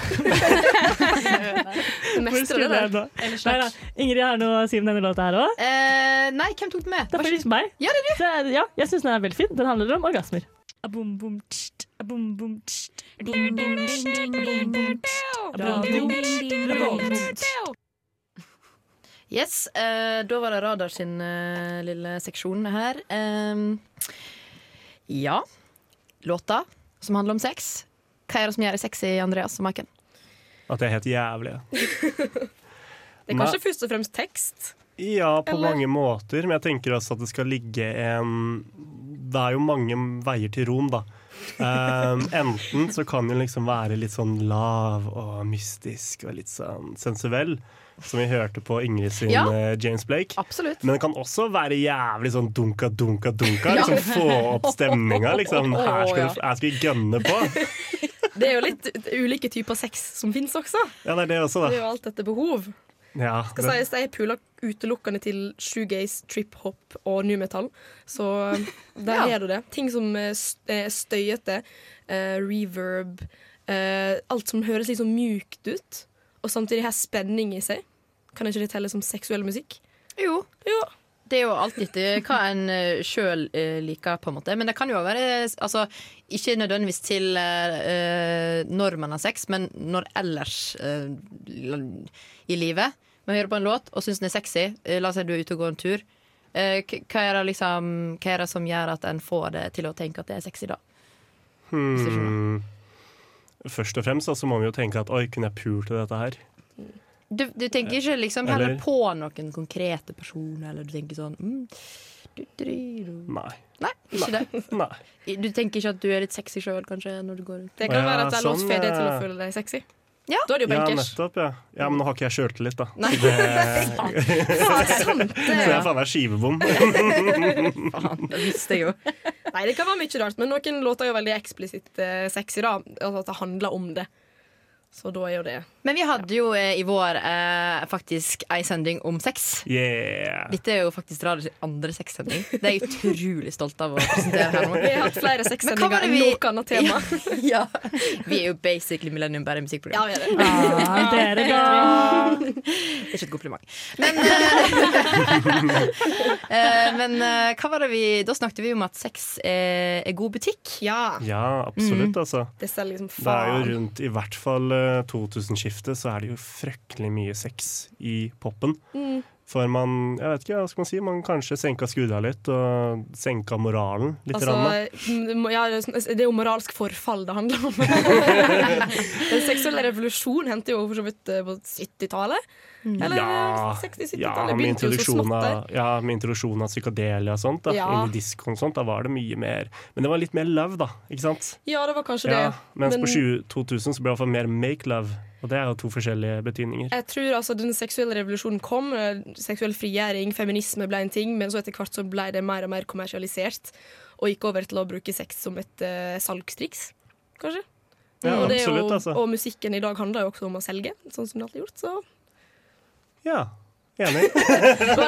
Speaker 4: Mestre
Speaker 1: skulle jeg
Speaker 4: det.
Speaker 1: nå? Nei, da. Ingrid har noe å si om denne låta her òg.
Speaker 5: Eh, nei, hvem tok den med?
Speaker 1: Det er faktisk meg.
Speaker 5: Ja, det
Speaker 1: Så, ja, jeg syns den er veldig fin. Den handler om orgasmer. Abom, bom, tst, abom, bom, tst, abom, bom, tst, abom, bom, tst, abom, bom, tst, abom, bom, tst.
Speaker 5: Yes, eh, da var det Radar sin eh, lille seksjon her. Ehm, ja, låta som handler om sex. Hva er det som gjør det sexy, Andreas og Maiken?
Speaker 2: At jeg er helt jævlig. ja.
Speaker 4: Det er kanskje først og fremst tekst.
Speaker 2: Ja, på
Speaker 4: Eller?
Speaker 2: mange måter, men jeg tenker også at det skal ligge en Det er jo mange veier til Rom, da. Um, enten så kan den liksom være litt sånn lav og mystisk og litt sånn sensuell, som vi hørte på Ingrid sin
Speaker 5: Ja.
Speaker 2: eh, James Blake.
Speaker 5: Absolutt.
Speaker 2: Men det kan også være jævlig sånn dunka, dunka, dunka. Liksom Få opp stemninga. Liksom. Her skal, du- her skal vi gønne på.
Speaker 4: Det er jo litt ulike typer sex som fins også.
Speaker 2: Ja, det er det også,
Speaker 4: Det er
Speaker 2: da.
Speaker 4: jo alt etter behov.
Speaker 2: Ja,
Speaker 4: Skal sies jeg puler utelukkende til shoegaze, trip-hop og new metal. Så eh,
Speaker 5: Ja.
Speaker 4: der er det det. Ting som eh, s- er støyete, eh, reverb eh, Alt som høres litt sånn mjukt ut, og samtidig har spenning i seg. Kan ikke det telle som seksuell musikk?
Speaker 5: Jo.
Speaker 4: Jo.
Speaker 5: Det er jo alt etter hva en eh, sjøl eh, liker, på en måte. Men det kan jo også være eh, altså, Ikke nødvendigvis til eh, eh, når man har sex, men når ellers eh, l- i livet. Man hører på en låt og syns den er sexy. Eh, La oss si du er ute og går en tur. Eh, k- hva, er det liksom, hva er det som gjør at en får det til å tenke at det er sexy, da? Hvis du skjønner.
Speaker 2: Hmm. Først og fremst da, så må vi jo tenke at oi, kunne jeg pult til dette her?
Speaker 5: Du, du tenker ikke liksom heller
Speaker 2: Eller-
Speaker 5: på noen konkrete personer, eller du tenker sånn mm, du, du, du, du.
Speaker 2: Nei.
Speaker 5: Nei, ikke det.
Speaker 2: Nei.
Speaker 5: Du tenker ikke at du er litt sexy sjøl, kanskje? Når du går rundt
Speaker 4: Det kan
Speaker 2: Ja,
Speaker 4: være at det er låst
Speaker 2: sånn,
Speaker 4: for deg til å
Speaker 2: ja.
Speaker 4: føle deg sexy.
Speaker 5: Ja.
Speaker 4: Da er det jo
Speaker 2: Ja,
Speaker 4: bankers.
Speaker 2: nettopp, ja. ja. Men nå har ikke jeg sjøltillit, da.
Speaker 5: Nei.
Speaker 2: Det, så jeg er faen meg skivebom.
Speaker 5: Faen, det visste jeg jo.
Speaker 4: Nei, det kan være mye rart, men noen låter er jo veldig eksplisitt eh, sexy, da. Altså at det handler om det. Så da er jo det
Speaker 5: Men vi hadde jo eh, i vår eh, faktisk ei sending om sex.
Speaker 2: Yeah.
Speaker 5: Dette er jo faktisk Radios andre sexsending. Det er jeg utrolig stolt av å presentere her nå.
Speaker 4: Vi har hatt flere
Speaker 5: hva var
Speaker 4: sexsendinger
Speaker 5: det
Speaker 4: enn
Speaker 5: vi-
Speaker 4: noe annet tema.
Speaker 5: Ja. Vi er jo basically Millennium bare
Speaker 4: Ja,
Speaker 5: musikkprogram.
Speaker 4: vi er det.
Speaker 1: Ah, dere da.
Speaker 5: Det er ikke et kompliment. Men, eh, eh, men eh, hva var det vi Da snakket vi om at sex er, er god butikk.
Speaker 4: Ja,
Speaker 2: Ja, absolutt, altså.
Speaker 4: det selger liksom
Speaker 2: Det er jo
Speaker 4: faen.
Speaker 2: rundt i hvert fall eh, 2000-skiftet så er det jo fryktelig mye sex i popen.
Speaker 4: Mm.
Speaker 2: For man, jeg vet ikke, hva skal man si, man kanskje senka skuldra litt og senka moralen litt.
Speaker 4: Altså,
Speaker 2: grann, da.
Speaker 4: det må- ja, det er jo moralsk forfall det handler om. Den seksuelle revolusjonen hendte jo for så vidt eh, på 70-tallet. Eller
Speaker 2: Ja,
Speaker 4: 60-70-tallet.
Speaker 2: ja, med
Speaker 4: begynte jo så
Speaker 2: introduksjon
Speaker 4: smått der.
Speaker 2: av, ja, med introduksjon av psykadelia og sånt, da,
Speaker 4: Ja.
Speaker 2: inn i diskoen og sånt, da var det mye mer Men det var litt mer love, da. ikke sant?
Speaker 4: Ja, det var kanskje
Speaker 2: Ja,
Speaker 4: det.
Speaker 2: mens
Speaker 4: Men-
Speaker 2: på 20 2000 så ble det i hvert fall mer make love, og det er jo to forskjellige betydninger.
Speaker 4: Jeg tror altså Den seksuelle revolusjonen kom. eh, Seksuell frigjøring, feminisme ble en ting. Men så etter hvert så ble det mer og mer kommersialisert. Og gikk over til å bruke sex som et eh, salgstriks, kanskje.
Speaker 2: Ja,
Speaker 4: og, det er jo,
Speaker 2: absolutt, altså.
Speaker 4: og musikken i dag handler jo også om å selge, sånn som det alltid er gjort. Så
Speaker 2: Ja, Enig.
Speaker 4: Var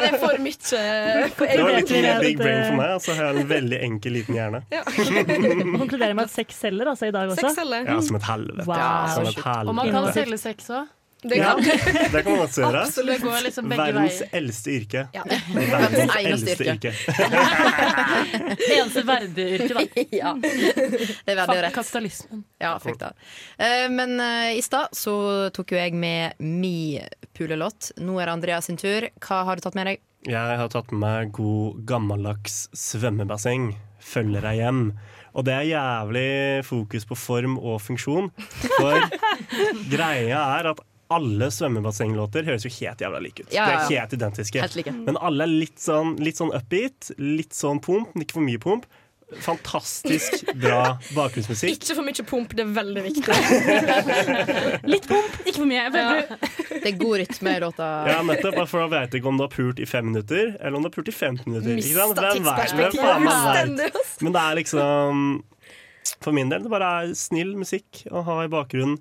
Speaker 4: det for mye? eh,
Speaker 2: Det var
Speaker 1: vet
Speaker 2: litt
Speaker 1: vi
Speaker 2: mye
Speaker 1: at,
Speaker 2: big brain
Speaker 1: eh,
Speaker 2: for meg. Altså, jeg har en veldig enkel, liten hjerne.
Speaker 1: Konkluderer med at sex selger altså, i dag også.
Speaker 4: Seks celler.
Speaker 2: Ja, som et helvete.
Speaker 1: Wow.
Speaker 2: Som et
Speaker 6: Og man kan
Speaker 1: Innenfor.
Speaker 2: helvete.
Speaker 6: selge sex òg.
Speaker 4: Det
Speaker 2: Ja,
Speaker 4: kan
Speaker 2: det kan man godt gjøre.
Speaker 6: Det går liksom begge
Speaker 2: Verdens
Speaker 6: veier.
Speaker 2: eldste yrke.
Speaker 4: Ja.
Speaker 2: Verdens
Speaker 5: eneste
Speaker 2: eldste
Speaker 5: yrke.
Speaker 2: yrke.
Speaker 6: Eneste verdige yrke, da.
Speaker 5: ja. Det er veldig
Speaker 6: Fuck
Speaker 5: rett.
Speaker 6: kapitalismen.
Speaker 5: Ja, fuck da. Eh, Men eh, i stad så tok jo jeg med mi pulelåt. Nå er det Andreas sin tur. Hva har du tatt med deg?
Speaker 2: Jeg har tatt med meg god gammeldags svømmebasseng. Følger deg hjem. Og det er jævlig fokus på form og funksjon. For greia er at alle svømmebassenglåter høres jo helt jævla like ut.
Speaker 5: Ja, ja, ja.
Speaker 2: De er helt identiske.
Speaker 5: Helt like.
Speaker 2: Men alle er litt sånn, litt sånn upbeat, litt sånn pomp, men ikke for mye pomp. Fantastisk bra bakgrunnsmusikk.
Speaker 4: Ikke for mye pump, det er veldig viktig.
Speaker 7: Litt pump, ikke for mye. Jeg føler du-
Speaker 5: Det er god rytme i låta.
Speaker 2: Ja, nettopp, for da vet jeg ikke om du har pult i fem minutter, eller om du har pult i 15 minutter. Ikke sant? For det er en vei- det er faen meg en vei.
Speaker 4: Fullstendig, ass.
Speaker 2: Men det er liksom For min del, det bare er snill musikk å ha i bakgrunnen.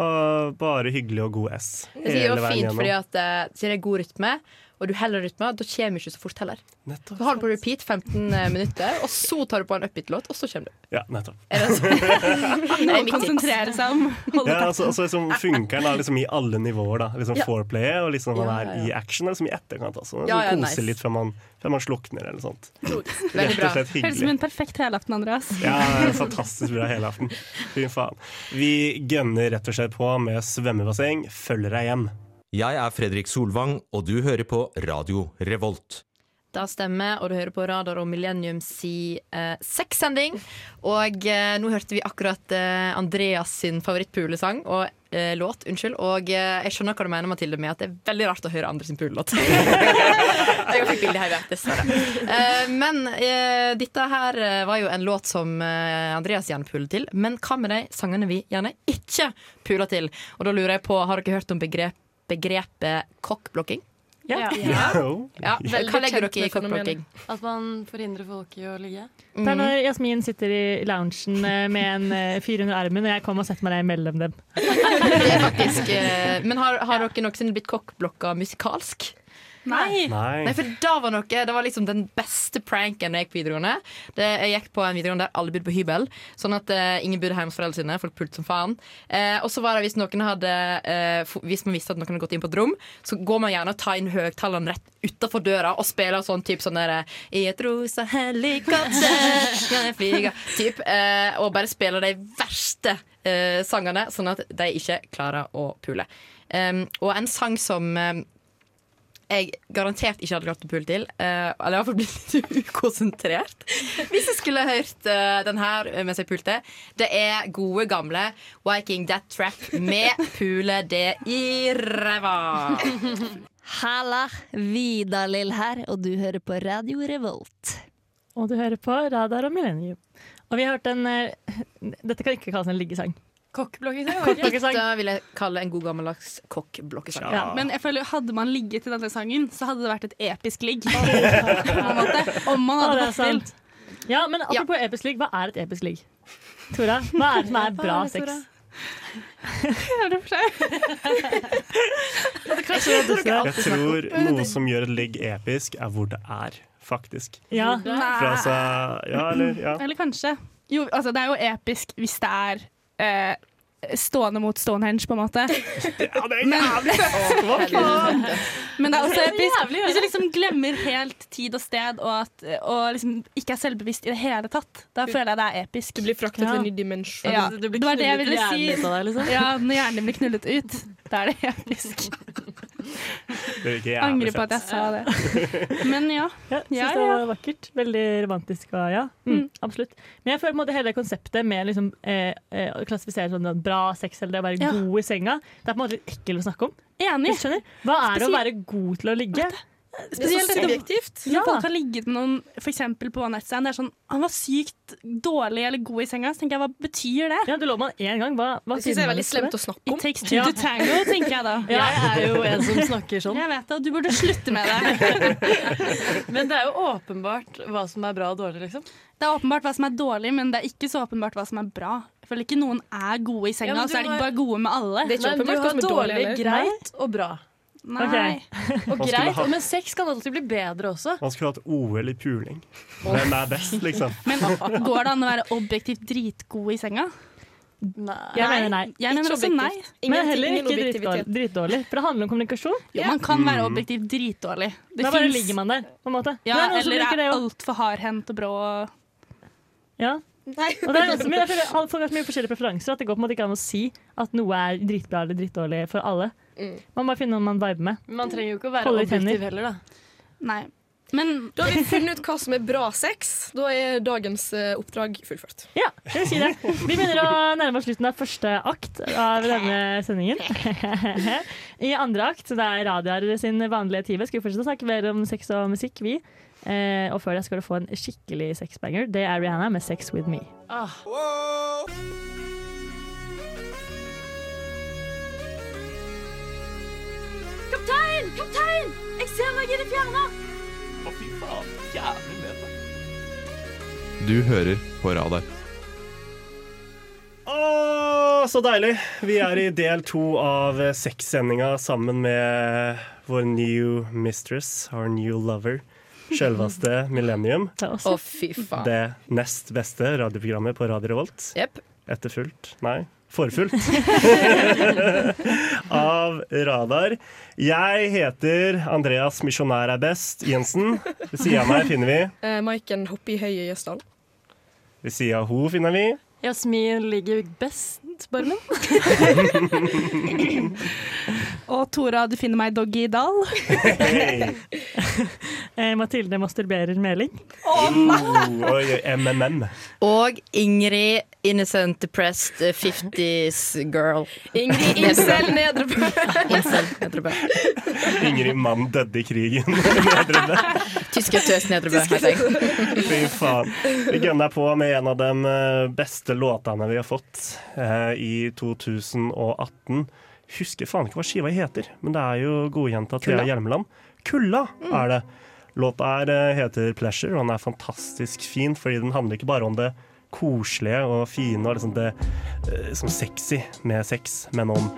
Speaker 2: Og bare hyggelig og god S
Speaker 5: Jeg sier jo fint fordi at eh, Siden det er god rytme, og du heller rytme, da kommer du ikke så fort heller.
Speaker 2: Nettopp.
Speaker 5: Du har det på repeat 15 minutter, og så tar du på en upbeat-låt, og så kommer du.
Speaker 2: Ja, nettopp.
Speaker 5: Er det sånn?
Speaker 7: Noe
Speaker 5: er
Speaker 7: å
Speaker 5: mitt tips.
Speaker 7: konsentrere seg om.
Speaker 2: Ja,
Speaker 7: Holde
Speaker 2: altså, altså liksom Funkeren er liksom i alle nivåer. da Liksom Foreplayet og liksom man
Speaker 5: Ja,
Speaker 2: er
Speaker 5: ja, ja.
Speaker 2: i action, og liksom i etterkant også. liksom
Speaker 5: Ja, ja,
Speaker 2: koser
Speaker 5: nice.
Speaker 2: litt før man, før man slukner eller sånt.
Speaker 5: Veldig
Speaker 2: Rett og
Speaker 5: bra.
Speaker 2: slett
Speaker 7: Høres ut som
Speaker 2: hyggelig.
Speaker 7: en perfekt helaften, Andreas.
Speaker 2: Ja, det er fantastisk bra helaften. Fy faen. Vi gønner rett og slett på med svømmebasseng. Følger deg hjem.
Speaker 10: Jeg er Fredrik Solvang, og du hører på Radio Revolt.
Speaker 5: Da stemmer, og du hører på Radar og Millennium si eh, sexsending. Og eh, nå hørte vi akkurat eh, Andreas sin favorittpulesang og eh, låt, unnskyld. Og eh, jeg skjønner hva du mener, Mathilde, med at det er veldig rart å høre andre sin pulelåt. jeg fikk billig høyre, dessverre. Eh, men eh, dette her eh, var jo en låt som eh, Andreas gjerne puler til. Men hva med de sangene vi gjerne ikke puler til? Og da lurer jeg på, har dere hørt om begrep, begrepet kokkblokking?
Speaker 6: Ja.
Speaker 5: Ja,
Speaker 4: Veldig
Speaker 5: hva legger
Speaker 4: kjent
Speaker 5: dere i
Speaker 4: med fenomenet.
Speaker 5: kokkblokking?
Speaker 6: At man forhindrer folk i å ligge.
Speaker 1: Det er når Jasmin sitter i loungen eh, med en eh, fyr under armen, og jeg kommer og setter meg ned imellom dem.
Speaker 5: Det er faktisk eh, Men har, har dere noensinne blitt kokkblokka musikalsk?
Speaker 7: Nei!
Speaker 5: Nei,
Speaker 2: Nei.
Speaker 5: for da var noe Det var liksom den beste pranken da jeg gikk på videregående. Det, jeg gikk på en videregående der alle bodde på hybel, sånn at eh, ingen bodde hjemme hos foreldrene sine. Folk pulte som faen. Eh, og så var det hvis noen hadde eh, f- Hvis man visste at noen hadde gått inn på et rom, så går man gjerne og tar inn høyttaleren rett utafor døra og spiller sånn typ sånn der eh, I et rosa helikopter kan jeg flyge typ, eh, Og bare spiller de verste eh, sangene, sånn at de ikke klarer å pule. Em, og en sang som eh, em, jeg garantert ikke hadde klart å pule til. eh, eller i hvert fall blitt litt ukonsentrert. Hvis jeg skulle hørt eh, den her mens jeg pulte. Det er gode, gamle Viking Death Trap med 'Pule det i ræva'.
Speaker 8: Halla, Vidar-Lill her, og du hører på Radio Revolt.
Speaker 1: Og du hører på Radar og Millennium. Og vi har hørt en eh, Dette kan ikke kalles en liggesang.
Speaker 6: Kokkblokking.
Speaker 1: Kokkblokkesang.
Speaker 5: Da vil jeg kalle en god gammeldags kokkblokkesang.
Speaker 2: Ja.
Speaker 7: Men jeg føler hadde man ligget i denne sangen, så hadde det vært et episk ligg. På en måte. Om man
Speaker 1: Å,
Speaker 7: hadde
Speaker 1: det er
Speaker 7: fått til.
Speaker 1: sant. Ja, men apropos episk ligg, hva er et episk ligg? Tora, hva er det som er bra
Speaker 7: Hva er det,
Speaker 1: sex?
Speaker 7: Hører du for seg?
Speaker 2: Jeg tror noe som gjør et ligg episk, er hvor det er, faktisk.
Speaker 1: Ja,
Speaker 2: For altså, ja, eller, ja.
Speaker 7: Eller kanskje. Jo, altså, det er jo episk hvis det er eh, stående mot Stonehenge, på en måte.
Speaker 2: ja det er jævlig
Speaker 7: Men det er også episk hvis du liksom glemmer helt tid og sted, og, at, og liksom ikke er selvbevisst i det hele tatt. Da føler jeg det er episk.
Speaker 4: Du blir fraktet til en ny dimensjon.
Speaker 7: Ja,
Speaker 6: Du blir
Speaker 7: det var det jeg
Speaker 6: knullet i
Speaker 7: ville si.
Speaker 6: hjernen ut av deg, liksom.
Speaker 7: Ja, når hjernen blir knullet ut, da er det episk.
Speaker 2: Det virker jævlig
Speaker 7: Angrer på at
Speaker 2: fett.
Speaker 7: jeg sa det. Men ja.
Speaker 1: ja syns
Speaker 7: Ja,
Speaker 1: det
Speaker 7: ja.
Speaker 1: var vakkert. Veldig romantisk. Og, ja. mm, Absolutt. Men jeg føler på en måte hele konseptet med liksom, eh, eh, å klassifisere sånn at bra sex eller det å være
Speaker 7: Ja.
Speaker 1: god i senga, det er på en måte litt ekkelt å snakke om.
Speaker 7: Enig.
Speaker 1: Du skjønner? Hva er det å
Speaker 7: Spesielt-
Speaker 1: være god til å ligge?
Speaker 4: Spesielt subjektivt.
Speaker 7: Når
Speaker 1: Ja.
Speaker 7: folk har ligget med noen for eksempel på one night stand, det er sånn Han var sykt dårlig eller god i senga. Så tenker jeg, hva betyr det?
Speaker 1: Ja, du lå med han én gang. Hva, hva
Speaker 4: Det syns jeg er veldig
Speaker 1: sier man for
Speaker 4: slemt
Speaker 1: det?
Speaker 4: å snakke
Speaker 7: It
Speaker 4: om.
Speaker 7: takes two to tango, tenker jeg da.
Speaker 6: Jeg er jo en som snakker sånn.
Speaker 7: Jeg vet det, og du burde slutte med det.
Speaker 6: Men det er jo åpenbart hva som er bra og dårlig, liksom.
Speaker 7: Det er åpenbart hva som er dårlig, men det er ikke så åpenbart hva som er bra. Jeg føler ikke noen er gode i
Speaker 6: Ja,
Speaker 7: senga,
Speaker 6: men
Speaker 7: og så er
Speaker 6: du
Speaker 7: de
Speaker 6: har-
Speaker 7: bare gode med alle.
Speaker 4: Det er ikke
Speaker 6: Men du
Speaker 4: åpenbart hva
Speaker 6: har
Speaker 4: som er
Speaker 6: dårlig,
Speaker 4: dårlig. eller?
Speaker 6: greit og bra.
Speaker 7: Nei.
Speaker 6: Og
Speaker 2: Man skulle
Speaker 6: greit,
Speaker 2: ha-
Speaker 6: men sex kan alltid bli bedre også.
Speaker 2: Man skulle hatt OL i puling. Hvem er best, liksom?
Speaker 7: Men går det an å være objektivt dritgod i senga?
Speaker 1: Jeg mener nei.
Speaker 7: Jeg mener også nei.
Speaker 1: men heller ikke dritdårlig, dritdårlig, for det handler om kommunikasjon.
Speaker 7: Jo, man kan være objektivt dritdårlig. Det
Speaker 1: da bare
Speaker 7: finnes-
Speaker 1: ligger man der, på en måte.
Speaker 7: Ja,
Speaker 1: Det er noen som
Speaker 7: eller
Speaker 1: liker
Speaker 7: er
Speaker 1: det også.
Speaker 7: altfor hardhendt og brå.
Speaker 1: Ja.
Speaker 4: Nei.
Speaker 1: Og det er også, men jeg føler alle Folk har så mye forskjellige preferanser at det går på en måte ikke an å si at noe er dritbra eller drittdårlig for alle. Man må bare finne noen man viber med.
Speaker 6: Man trenger jo ikke å
Speaker 1: være Holde i objektiv tenner. heller,
Speaker 6: da.
Speaker 7: Nei. Men
Speaker 4: Da har vi funnet ut hva som er bra sex. Da er dagens eh, oppdrag fullført.
Speaker 1: Ja, jeg vil si det. Vi begynner å nærme oss slutten av første akt av denne sendingen. I andre akt, så det er Radiar sin vanlige time, skal vi fortsette å snakke mer om sex og musikk, vi. Eh, og før det skal du få en skikkelig sexbanger. Det er Rihanna med 'Sex With Me'.
Speaker 11: Kaptein! Kaptein! Jeg ser deg i det fjerne!
Speaker 12: Å, fy faen. Jævlig med deg.
Speaker 10: Du hører på Radar.
Speaker 2: Å, så deilig! Vi er i del to av sexsendinga sammen med vår new mistress, our new lover, selveste Millennium.
Speaker 5: Å, fy faen.
Speaker 2: Det nest beste radioprogrammet på Radio Revolt.
Speaker 5: Yep.
Speaker 2: Etter fullt Nei, forfullt. av Radar. Jeg heter Andreas Misjonær er best Jensen. Ved sida av meg finner vi
Speaker 4: Eh, Maiken Hoppe i Høye Jøsdal.
Speaker 2: Ved sida av ho finner vi
Speaker 6: Jasmin ligger best, Barmen.
Speaker 7: Og Tora, du finner meg doggy i dal.
Speaker 1: Eh, Mathilde masturberer meling.
Speaker 2: oh, oi, MMM.
Speaker 5: Og Ingrid Innocent Depressed eh, 50s Girl.
Speaker 4: Ingrid
Speaker 5: Incel
Speaker 4: Nedrebø.
Speaker 5: Incel Nedrebø.
Speaker 2: Ingrid Mann døde i krigen. Nedrebø.
Speaker 5: Tysker tøs Nedrebø, heter jeg.
Speaker 2: Fy faen. Vi gønner på med en av de eh, beste låtene vi har fått eh, i 2018. Husker faen ikke hva skiva heter, men det er jo godjenta Thea
Speaker 13: Kulla.
Speaker 2: Hjelmeland. Kulla er det. Låta her eh, heter 'Pleasure', og den er fantastisk fin, fordi den handler ikke bare om det koselige og fine og liksom det eh, som sexy med sex, men om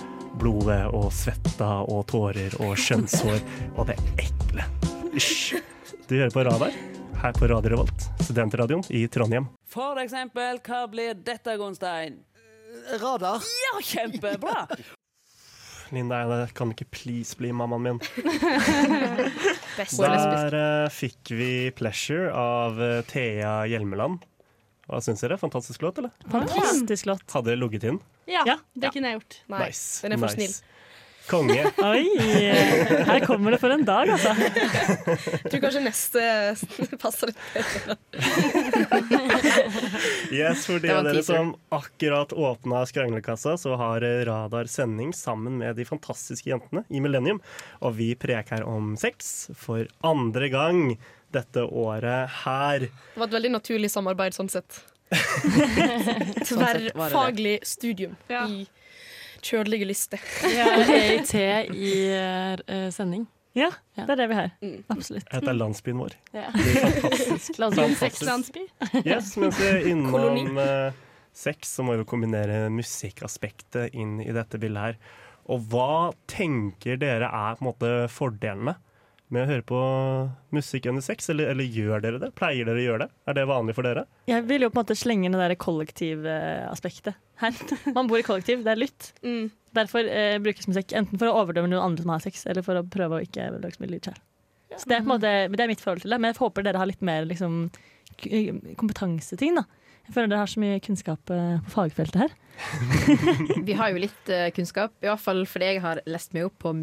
Speaker 2: blodet og svetta og tårer og skjønnshår og det ekle. Hysj. Du hører på Radar her på Radio Revolt, studentradioen i Trondheim.
Speaker 14: For eksempel, hva blir dette, Gunstein? Radar. Ja, kjempebra!
Speaker 2: Linda Eide, kan du ikke please bli mammaen min?
Speaker 14: Best.
Speaker 2: Der eh, fikk vi 'Pleasure' av eh, Thea Hjelmeland. Hva syns dere? Fantastisk låt, eller?
Speaker 1: Fantastisk låt.
Speaker 2: Hadde dere logget inn?
Speaker 7: Ja, det kunne jeg gjort.
Speaker 2: Nice. nice. Konge.
Speaker 1: Oi! Her kommer det for en dag, altså.
Speaker 4: Jeg tror kanskje neste passer litt bedre.
Speaker 2: Yes, for de
Speaker 4: Det
Speaker 2: av
Speaker 4: var en
Speaker 2: dere
Speaker 4: teaser.
Speaker 2: som akkurat åpna skranglekassa, så har eh, Radar sending sammen med de fantastiske jentene i Millennium. Og vi preker om sex for andre gang dette året her.
Speaker 4: Det var et veldig naturlig samarbeid sånn sett.
Speaker 2: sett var det
Speaker 4: Tverrfaglig studium i kjølige liste.
Speaker 6: EIT i eh, sending.
Speaker 1: Ja, det er det vi har. Absolutt.
Speaker 2: Dette er landsbyen vår.
Speaker 6: Ja.
Speaker 2: Det er fantastisk.
Speaker 6: Landsby,
Speaker 2: Fantastisk.
Speaker 6: sexlandsby.
Speaker 2: Yes, mens vi er innom
Speaker 6: Koloni.
Speaker 2: eh, sex, så må vi jo kombinere musikkaspektet inn i dette bildet her. Og hva tenker dere er på en måte fordelene med å høre på musikk under sex? Eller, eller gjør dere det? Pleier dere å gjøre det? Er det vanlig for dere?
Speaker 1: Jeg vil jo på en måte slenge inn det der kollektivaspektet her. Man bor i kollektiv, det er lytt.
Speaker 6: Mm.
Speaker 1: Derfor eh, brukes musikk enten for å overdømme noen andre som har sex, eller for å prøve å ikke lage så mye lyd sjøl. Så det er, på en måte, men det er mitt forhold til det, men jeg håper dere har litt mer liksom, k- kompetanseting. da. Jeg føler dere har så mye kunnskap eh, på fagfeltet her.
Speaker 5: Vi har jo litt eh, kunnskap, i hvert fall fordi jeg har lest meg opp på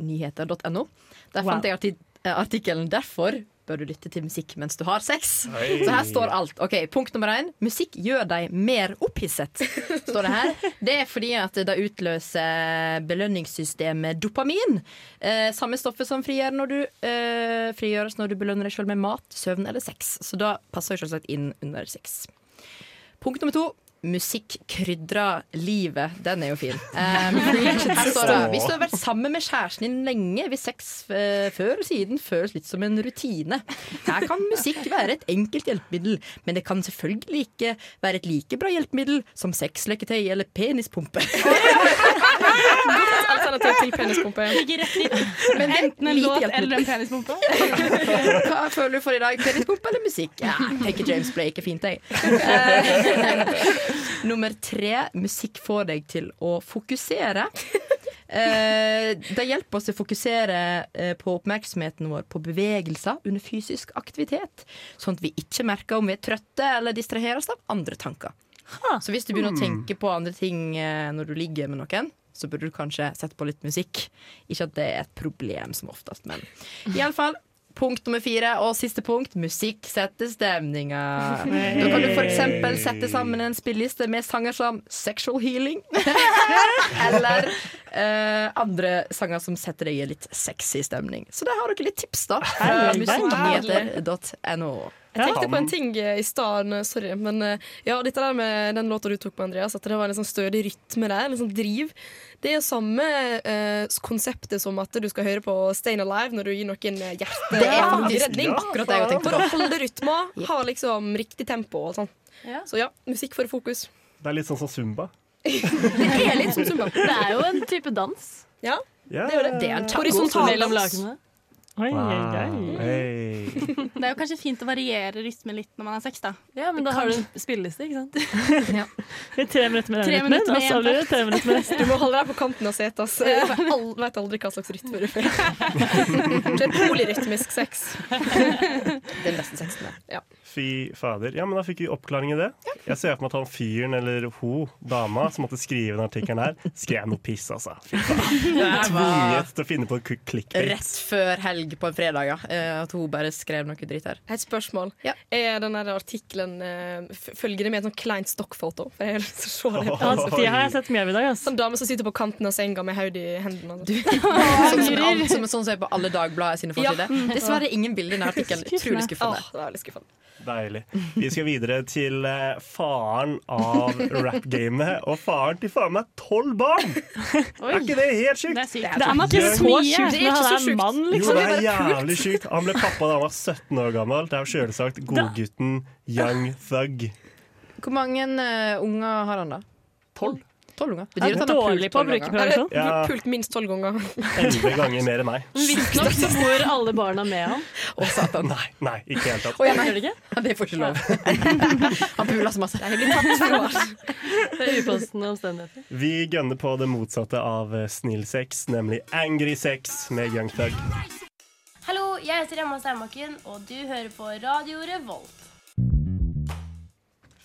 Speaker 5: musikknyheter.no. Der
Speaker 8: Wow.
Speaker 5: fant jeg arti eh, artikkelen 'Derfor bør du lytte til musikk mens du har sex'.
Speaker 8: Oi.
Speaker 5: Så her står alt. Ok, Punkt nummer én musikk gjør deg mer opphisset. Står Det her Det er fordi at det utløser belønningssystemet dopamin. Eh, samme stoffet som frigjør når du, eh, frigjøres når du belønner deg sjøl med mat, søvn eller sex. Så da passer jo selvsagt inn under sex. Punkt nummer to. Musikk krydrer livet. Den er jo fin. Um, her står det, Hvis du har vært sammen med kjæresten din lenge, vil sex eh, før og siden føles litt som en rutine. Her kan musikk være et enkelt hjelpemiddel, men det kan selvfølgelig ikke være et like bra hjelpemiddel som sexleketøy eller penispumpe.
Speaker 4: Alternativ til penis. penispumpe.
Speaker 7: Ligger rett i.
Speaker 5: Men det er
Speaker 7: Enten en
Speaker 5: lite
Speaker 7: låt
Speaker 5: hjelp.
Speaker 7: eller en penispumpe.
Speaker 5: Hva føler du for i dag? Penispump eller musikk? Ja, tenker James Blake er fint, jeg. Eh, Nummer tre musikk får deg til å fokusere. Eh, det hjelper oss å fokusere eh, på oppmerksomheten vår på bevegelser under fysisk aktivitet, sånn at vi ikke merker om vi er trøtte eller distraheres av andre tanker. Så hvis du begynner å
Speaker 8: Hmm.
Speaker 5: tenke på andre ting eh, når du ligger med noen, så burde du kanskje sette på litt musikk. Ikke at det er et problem som oftest, men iallfall. Punkt nummer fire og siste punkt musikk setter stemninga. Da kan du f.eks. sette sammen en spilleliste med sanger som Sexual Healing. Eller eh, andre sanger som setter deg i litt sexy stemning. Så der har dere litt tips, da. Fra
Speaker 4: Herlig.
Speaker 5: musikknyheter.no.
Speaker 4: Jeg tenkte på en ting eh, i stad, eh, sorry. Men eh, ja, dette der med den låta du tok på, Andreas, at det var en litt sånn stødig rytme der, litt sånn driv. Det er jo samme eh, konseptet som at du skal høre på Stayin' Alive når du gir noen eh, hjerte-
Speaker 5: Det er
Speaker 4: eller
Speaker 5: faktisk
Speaker 4: redning.
Speaker 5: akkurat det jeg tenkte på.
Speaker 4: For å holde rytma,
Speaker 5: Yep.
Speaker 4: ha liksom riktig tempo og sånn. Så ja, musikk for fokus.
Speaker 2: Det er litt sånn som Zumba.
Speaker 4: Det er litt som zumba.
Speaker 6: Det er jo en type dans.
Speaker 4: Ja,
Speaker 2: Ja.
Speaker 6: det er jo det.
Speaker 2: Det er en tango.
Speaker 6: Horisontal
Speaker 2: Mellom
Speaker 6: dans.
Speaker 2: lagene.
Speaker 1: Oi,
Speaker 2: Wow. Hey.
Speaker 7: Det er jo kanskje fint å variere rytmen litt når man har sex, da.
Speaker 6: Ja, men da har du en spilleliste, ikke sant?
Speaker 1: Det er Tre minutter med
Speaker 7: Tre
Speaker 1: den rytmen,
Speaker 7: minutter med
Speaker 1: og så
Speaker 7: en
Speaker 1: blir det
Speaker 7: takt.
Speaker 1: tre minutter med neste.
Speaker 4: Du må holde deg på kanten av setet. ass. Du vet al- vet aldri hva slags rytme du får. Det er polyrytmisk sex.
Speaker 5: Den beste sexen der.
Speaker 4: Ja.
Speaker 2: Fy fader. Ja, men Da fikk vi oppklaring i det. Jeg ser for meg at han fyren eller ho, dama, som måtte skrive den artikkelen her, skrev noe piss, altså. Fy faen.
Speaker 5: Det var-
Speaker 2: Tvunget til å finne på k- clickbait.
Speaker 5: Rett før helg på en fredag, ja. Eh, At hun bare skrev noe dritt her.
Speaker 4: Et spørsmål. Er den der artikkelen eh, f- Følger det med et sånt kleint stokkfoto? For jeg har lyst til å se det.
Speaker 1: Ja, det Altså, har jeg sett mye av i dag. altså. ass.
Speaker 4: Sånn dame som sitter på kanten av senga med hodet i hendene. altså.
Speaker 5: Sånn som, alt, som, sånn som er på alle Dagbladet sine forsider.
Speaker 4: Ja.
Speaker 5: Dessverre ingen bilder i denne artikkelen. Utrolig skuffende.
Speaker 4: Åh, det er veldig skuffende.
Speaker 2: Deilig. Vi skal videre til eh, faren av rap-gamet. Og faren til faen meg tolv barn! Er ikke det helt sjukt?
Speaker 7: Det er sykt.
Speaker 2: Det er
Speaker 7: Det er nok
Speaker 2: ikke
Speaker 7: ikke
Speaker 2: så
Speaker 7: så
Speaker 2: mye.
Speaker 7: sjukt
Speaker 2: Det er
Speaker 7: når
Speaker 2: ikke
Speaker 7: han
Speaker 2: så
Speaker 7: er en
Speaker 2: sjukt.
Speaker 7: mann,
Speaker 2: Jo,
Speaker 7: liksom.
Speaker 2: det er jævlig sjukt. Han ble pappa da han var 17 år gammel. Det er jo selvsagt godgutten Young Thug.
Speaker 5: Hvor mange eh, unger har han, da?
Speaker 2: Tolv.
Speaker 5: Tolv unger.
Speaker 2: Han er dårlig på å bruke prevensjon.
Speaker 4: Er det
Speaker 2: Ja.
Speaker 4: pult minst tolv ganger.
Speaker 2: Elleve ganger mer enn meg.
Speaker 6: Visstnok så bor alle barna med ham.
Speaker 5: Å, satan.
Speaker 2: Nei, nei, ikke i det hele tatt.
Speaker 5: Å, ja, nei. Ja, det får ikke lov. Han puler så masse.
Speaker 6: Det er upassende omstendigheter.
Speaker 2: Vi gønner på det motsatte av eh, snill sex, nemlig angry sex med Young Thug.
Speaker 13: Hallo, jeg heter Emma Steinbakken, og du hører på Radio Revolt.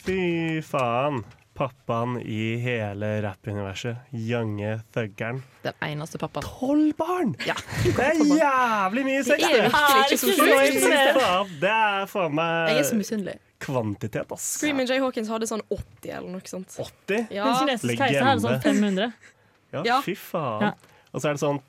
Speaker 2: Fy faen. Pappaen i hele rappuniverset. Younge thuggeren.
Speaker 5: Den eneste pappaen.
Speaker 2: Tolv barn! Det er jævlig mye sex!
Speaker 5: Det er virkelig ikke så
Speaker 2: Fy
Speaker 5: sjukt.
Speaker 2: faen, Det er faen meg
Speaker 4: Jeg er så
Speaker 5: misunnelig.
Speaker 2: Kvantitet, ass.
Speaker 4: Screaming Jay Hawkins hadde sånn 80 eller noe sånt.
Speaker 2: 80?
Speaker 4: Ja.
Speaker 1: Den kinesiske keiseren hadde sånn 500.
Speaker 2: Ja,
Speaker 4: Ja.
Speaker 2: fy faen.
Speaker 1: Ja.
Speaker 2: Og så er det sånn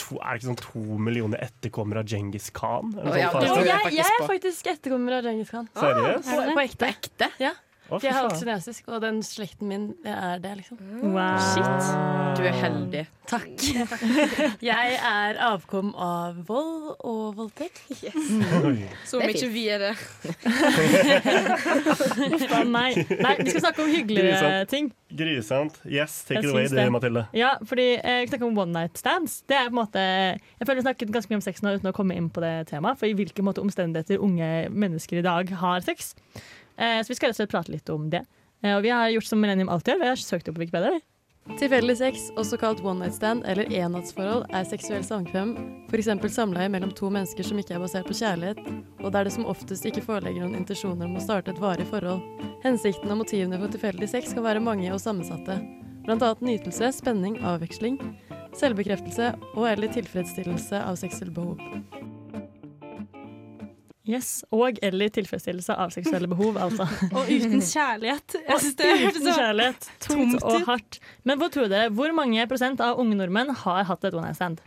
Speaker 2: to, Er det ikke sånn to millioner etterkommere av Djengis Khan? Eller
Speaker 6: Og
Speaker 2: sånn
Speaker 6: jeg,
Speaker 2: faen?
Speaker 6: jeg, Altså, er faktisk etterkommer av Djengis Khan.
Speaker 2: Seriøst?
Speaker 6: På, på ekte. Ja.
Speaker 2: Å, fy
Speaker 6: Jeg er halvt
Speaker 2: faen.
Speaker 6: kinesisk, og den slekten min det er det, liksom.
Speaker 1: Wow.
Speaker 5: Ah.
Speaker 6: Shit.
Speaker 5: Du er heldig.
Speaker 6: Takk. Jeg er avkom av vold og voldtekt.
Speaker 2: Oi.
Speaker 4: Som
Speaker 6: Det er
Speaker 4: ikke
Speaker 6: fint.
Speaker 4: vi er det.
Speaker 1: Uff da, nei. nei. Vi skal snakke om hyggeligere
Speaker 2: Grusomt.
Speaker 1: ting.
Speaker 2: Grusomt. Yes, take
Speaker 1: Jeg
Speaker 2: it away,
Speaker 1: syns
Speaker 2: du, Mathilde.
Speaker 1: Ja, fordi eh, Vi snakker om one night stands. Det er på en måte, jeg føler Vi snakket ganske mye om sex nå uten å komme inn på det temaet. For i hvilke måte omstendigheter unge mennesker i dag har sex. Eh, så vi skal rett og slett prate litt om det. Eh, og vi har gjort som Millennium alltid gjør. Vi har søkt opp på Wikipedia. vi.
Speaker 6: Tilfeldig sex, også kalt one night stand eller ennattsforhold, er seksuell samkvem, f.eks. samleie mellom to mennesker som ikke er basert på kjærlighet, og der det som oftest ikke foreligger noen intensjoner om å starte et varig forhold. Hensikten og motivene for tilfeldig sex kan være mange og sammensatte, bl.a. nytelse, spenning, avveksling, selvbekreftelse og eller tilfredsstillelse av seksuelle behov.
Speaker 1: Yes, Og eller tilfredsstillelse av seksuelle behov, altså.
Speaker 7: Og uten kjærlighet. Jeg synes det hørtes
Speaker 1: Uten
Speaker 7: så-
Speaker 1: kjærlighet. Tungt
Speaker 7: tomt
Speaker 1: og
Speaker 7: ut.
Speaker 1: hardt. Men hvor tror dere, hvor mange prosent av unge nordmenn har hatt et one night stand?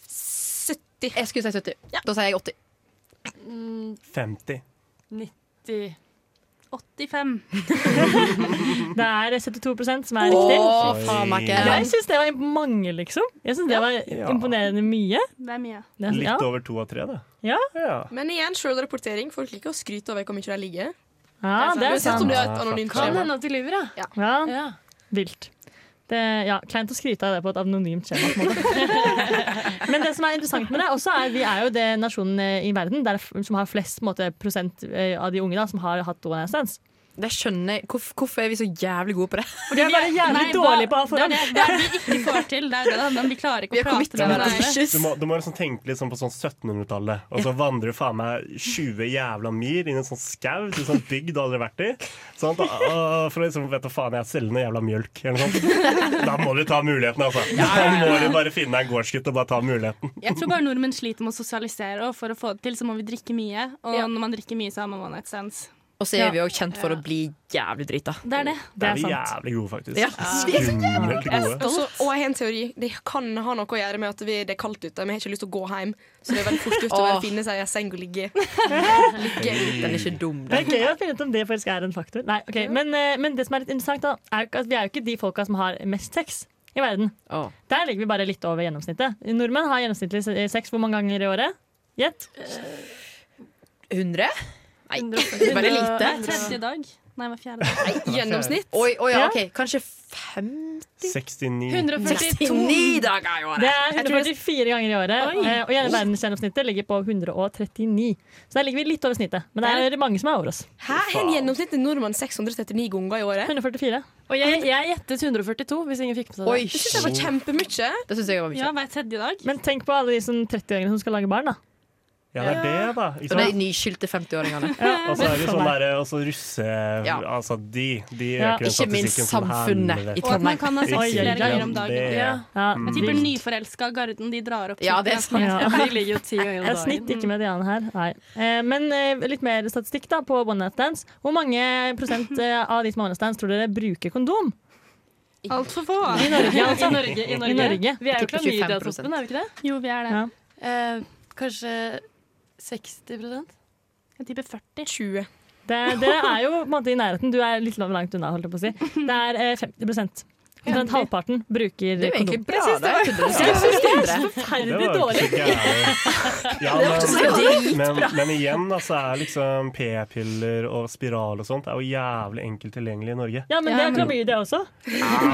Speaker 5: 70. Jeg skulle si 70. Da sier jeg 80.
Speaker 2: 50.
Speaker 6: 90
Speaker 7: Eh, 85.
Speaker 1: Det er 72 som er
Speaker 7: Åh,
Speaker 1: riktig.
Speaker 7: faen meg ikke.
Speaker 1: Jeg syns det var imp- mange, liksom. Jeg synes Det var
Speaker 2: Ja.
Speaker 1: imponerende mye.
Speaker 7: Det er mye.
Speaker 1: Det er-
Speaker 2: Litt
Speaker 1: ja.
Speaker 2: over to av tre, det.
Speaker 1: Ja.
Speaker 2: Ja.
Speaker 4: Men igjen, sjølrapportering. Folk liker å skryte over hvor mye de ligger.
Speaker 1: Ja, det er
Speaker 4: Uansett om
Speaker 1: sant.
Speaker 4: det er et anonymt
Speaker 6: Kan
Speaker 4: skjema.
Speaker 6: hende at de lyver, ja.
Speaker 1: Ja. Vilt. Det, ja, Kleint å skryte av det på et anonymt skjema. på en måte. Men det som er interessant med det også er vi er jo det nasjonen eh, i verden der, som har flest på en måte, prosent eh, av de unge da, som har hatt one night stands.
Speaker 5: Det skjønner jeg. Hvorfor, er vi så jævlig gode på det?
Speaker 1: Fordi vi er bare jævlig
Speaker 7: Nei, hva-
Speaker 1: dårlige på
Speaker 7: Det er
Speaker 1: forhånd.
Speaker 7: det, det er det vi ikke får til. Det er jo det, da. Men vi klarer ikke å prate med hverandre.
Speaker 2: Du må, du må liksom tenke litt sånn på sånn 1700-tallet, og så vandrer du faen meg 20 jævla mil inn i en sånn skau til en sånn bygd du aldri har vært i. Sånn, og, og for å liksom vet du faen, jeg selger noe jævla mjølk eller noe sånt. Da må du ta muligheten, altså. Da må du bare finne deg en gårdsgutt og bare ta muligheten.
Speaker 7: Jeg tror bare nordmenn sliter med å sosialisere, og for å få det til så må vi drikke mye. Og
Speaker 5: Ja.
Speaker 7: når man drikker mye, så har man one night stands.
Speaker 5: Og så er
Speaker 7: Ja.
Speaker 5: vi jo kjent for å bli jævlig drita.
Speaker 7: Det er det.
Speaker 2: Da er vi jævlig gode, faktisk.
Speaker 5: Ja.
Speaker 2: Skummelt gode.
Speaker 4: Også, og jeg har en teori. Det kan ha noe å gjøre med at vi, det er kaldt ute. Vi har ikke lyst til å gå hjem, så det er veldig fort gjort
Speaker 1: Åh.
Speaker 4: å bare finne seg i en seng og ligge. ligge.
Speaker 5: Den er ikke dum,
Speaker 1: Det er gøy å finne ut om det faktisk er en faktor. Nei, ok, men, eh, men det som er litt interessant, da, er jo ikke at vi er jo ikke de folka som har mest sex i verden. Der ligger vi bare litt over gjennomsnittet. Nordmenn har gjennomsnittlig se- eh, sex hvor mange ganger i året? Gjett.
Speaker 5: 100? Nei, bare lite.
Speaker 7: Hver tredje dag. Nei, hver fjerde dag.
Speaker 5: Gjennomsnitt? Oi, oi, ja, ok. Kanskje
Speaker 2: 69
Speaker 5: 149 dager i året.
Speaker 1: Det
Speaker 5: Jeg
Speaker 1: er
Speaker 5: tror
Speaker 1: 144 ganger i året.
Speaker 5: Oi.
Speaker 1: eh, Og gjerne verdensgjennomsnittet ligger på 139. Så der ligger vi litt over snittet. Men det er mange som er over oss.
Speaker 4: Hæ? Har en gjennomsnittlig nordmann 639 ganger i året?
Speaker 1: 144.
Speaker 6: Og jeg, jeg gjettet 142, hvis ingen fikk med seg det.
Speaker 4: det syns jeg var kjempemye.
Speaker 5: Det syns jeg var
Speaker 7: Ja, hver tredje dag.
Speaker 1: Men tenk på alle de sånn 30-åringene som skal lage barn, da.
Speaker 2: Ja, det er det, da.
Speaker 5: Og de nyskyldte 50-åringene.
Speaker 2: Og så er det sånn der, også russe...
Speaker 5: Ja.
Speaker 2: Altså, de, de
Speaker 5: Ja.
Speaker 2: øker den
Speaker 5: Ikke minst
Speaker 2: statistikken som
Speaker 5: samfunnet
Speaker 2: helvete.
Speaker 5: i
Speaker 7: Og at man kan ha sex
Speaker 2: Ikke
Speaker 7: flere ganger om
Speaker 2: glem
Speaker 7: dagen.
Speaker 2: det. Mm.
Speaker 7: Jeg tipper nyforelska garden de drar opp.
Speaker 5: Ja, det er sant.
Speaker 1: Ja.
Speaker 6: Ja, de ligger jo ti ganger om
Speaker 1: Jeg snitt
Speaker 6: dagen.
Speaker 1: ikke med Diana her. Nei. Eh, men eh, litt mer statistikk da på one night stands. Hvor mange prosent eh, av de som har one night stands tror dere bruker kondom?
Speaker 7: Altfor få.
Speaker 1: I Norge, altså.
Speaker 6: I Norge. I Norge.
Speaker 1: I Norge.
Speaker 6: Vi er jo
Speaker 1: Tipper
Speaker 6: klamydia-toppen, er vi ikke det?
Speaker 7: Jo, vi er det.
Speaker 1: Ja.
Speaker 6: Eh, kanskje 60
Speaker 7: Jeg tipper 40.
Speaker 4: 20.
Speaker 1: Det, dere er jo på en måte i nærheten. Du er litt langt unna, holdt jeg på å si. Det er eh, 50 Omtrent halvparten bruker
Speaker 5: Det er jo egentlig
Speaker 1: kondom.
Speaker 5: bra, det.
Speaker 1: Jeg syns det var- Jeg syns det er så
Speaker 2: Det
Speaker 1: forferdelig
Speaker 2: var jo
Speaker 1: dårlig.
Speaker 2: ikke gærent. Ja,
Speaker 1: Det var ikke så
Speaker 2: men,
Speaker 1: dritbra.
Speaker 2: men, men igjen, altså, er liksom p-piller og spiral og sånt er jo jævlig enkelt tilgjengelig i Norge.
Speaker 1: Ja, men det er klamydia også.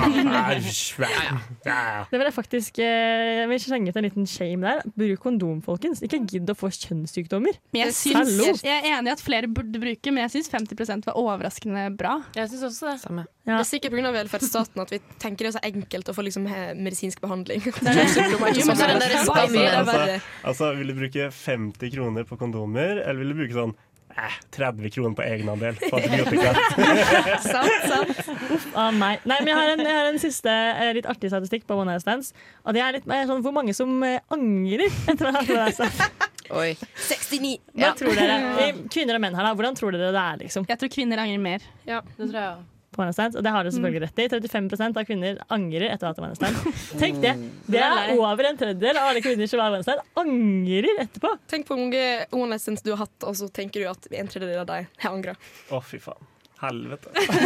Speaker 2: Æsj, ja, ja.
Speaker 1: Det vil jeg faktisk eh, Jeg vil slenge ut en liten shame der. Bruk kondom, folkens. Ikke gidd å få kjønnssykdommer.
Speaker 7: Men jeg,
Speaker 1: Hallo.
Speaker 7: syns, jeg er enig i at flere burde bruke, men jeg syns 50 var overraskende bra.
Speaker 6: Jeg syns også det.
Speaker 4: Det er sikkert pga. velferdsstaten at vi tenker det er så enkelt å få liksom, he- medisinsk behandling.
Speaker 2: Ja.
Speaker 4: Sykdommer er ikke
Speaker 2: Men
Speaker 4: så
Speaker 2: altså,
Speaker 4: verre. Bare er
Speaker 2: altså,
Speaker 4: verre.
Speaker 2: altså, vil du bruke 50 kroner på kondomer, eller vil du bruke sånn eh, 30 kroner på egenandel på antibiotika?
Speaker 1: sant, sant. Uff a meg. Nei, men jeg har en, jeg har en siste eh, litt artig statistikk på One Night Stands. Og det er litt mer sånn hvor mange som eh, angrer etter å ha hatt One Night Stands.
Speaker 5: Oi.
Speaker 4: 69.
Speaker 1: Hva tror dere? Eh, Kvinner og menn her, da. Hvordan tror dere det er, liksom?
Speaker 7: Jeg tror kvinner angrer mer.
Speaker 4: Ja,
Speaker 6: det tror jeg
Speaker 1: På One Night Stands, og det har dere selvfølgelig rett i. 35 av kvinner angrer etter å ha hatt One Night Stand. Tenk det. Mm. Det er over en tredjedel av alle kvinner som har One Night Stand, angrer etterpå.
Speaker 4: Tenk på hvor mange one night stands du har hatt, og så tenker du at en tredjedel av deg har angra.
Speaker 2: Å, fy faen. Helvete.
Speaker 7: Og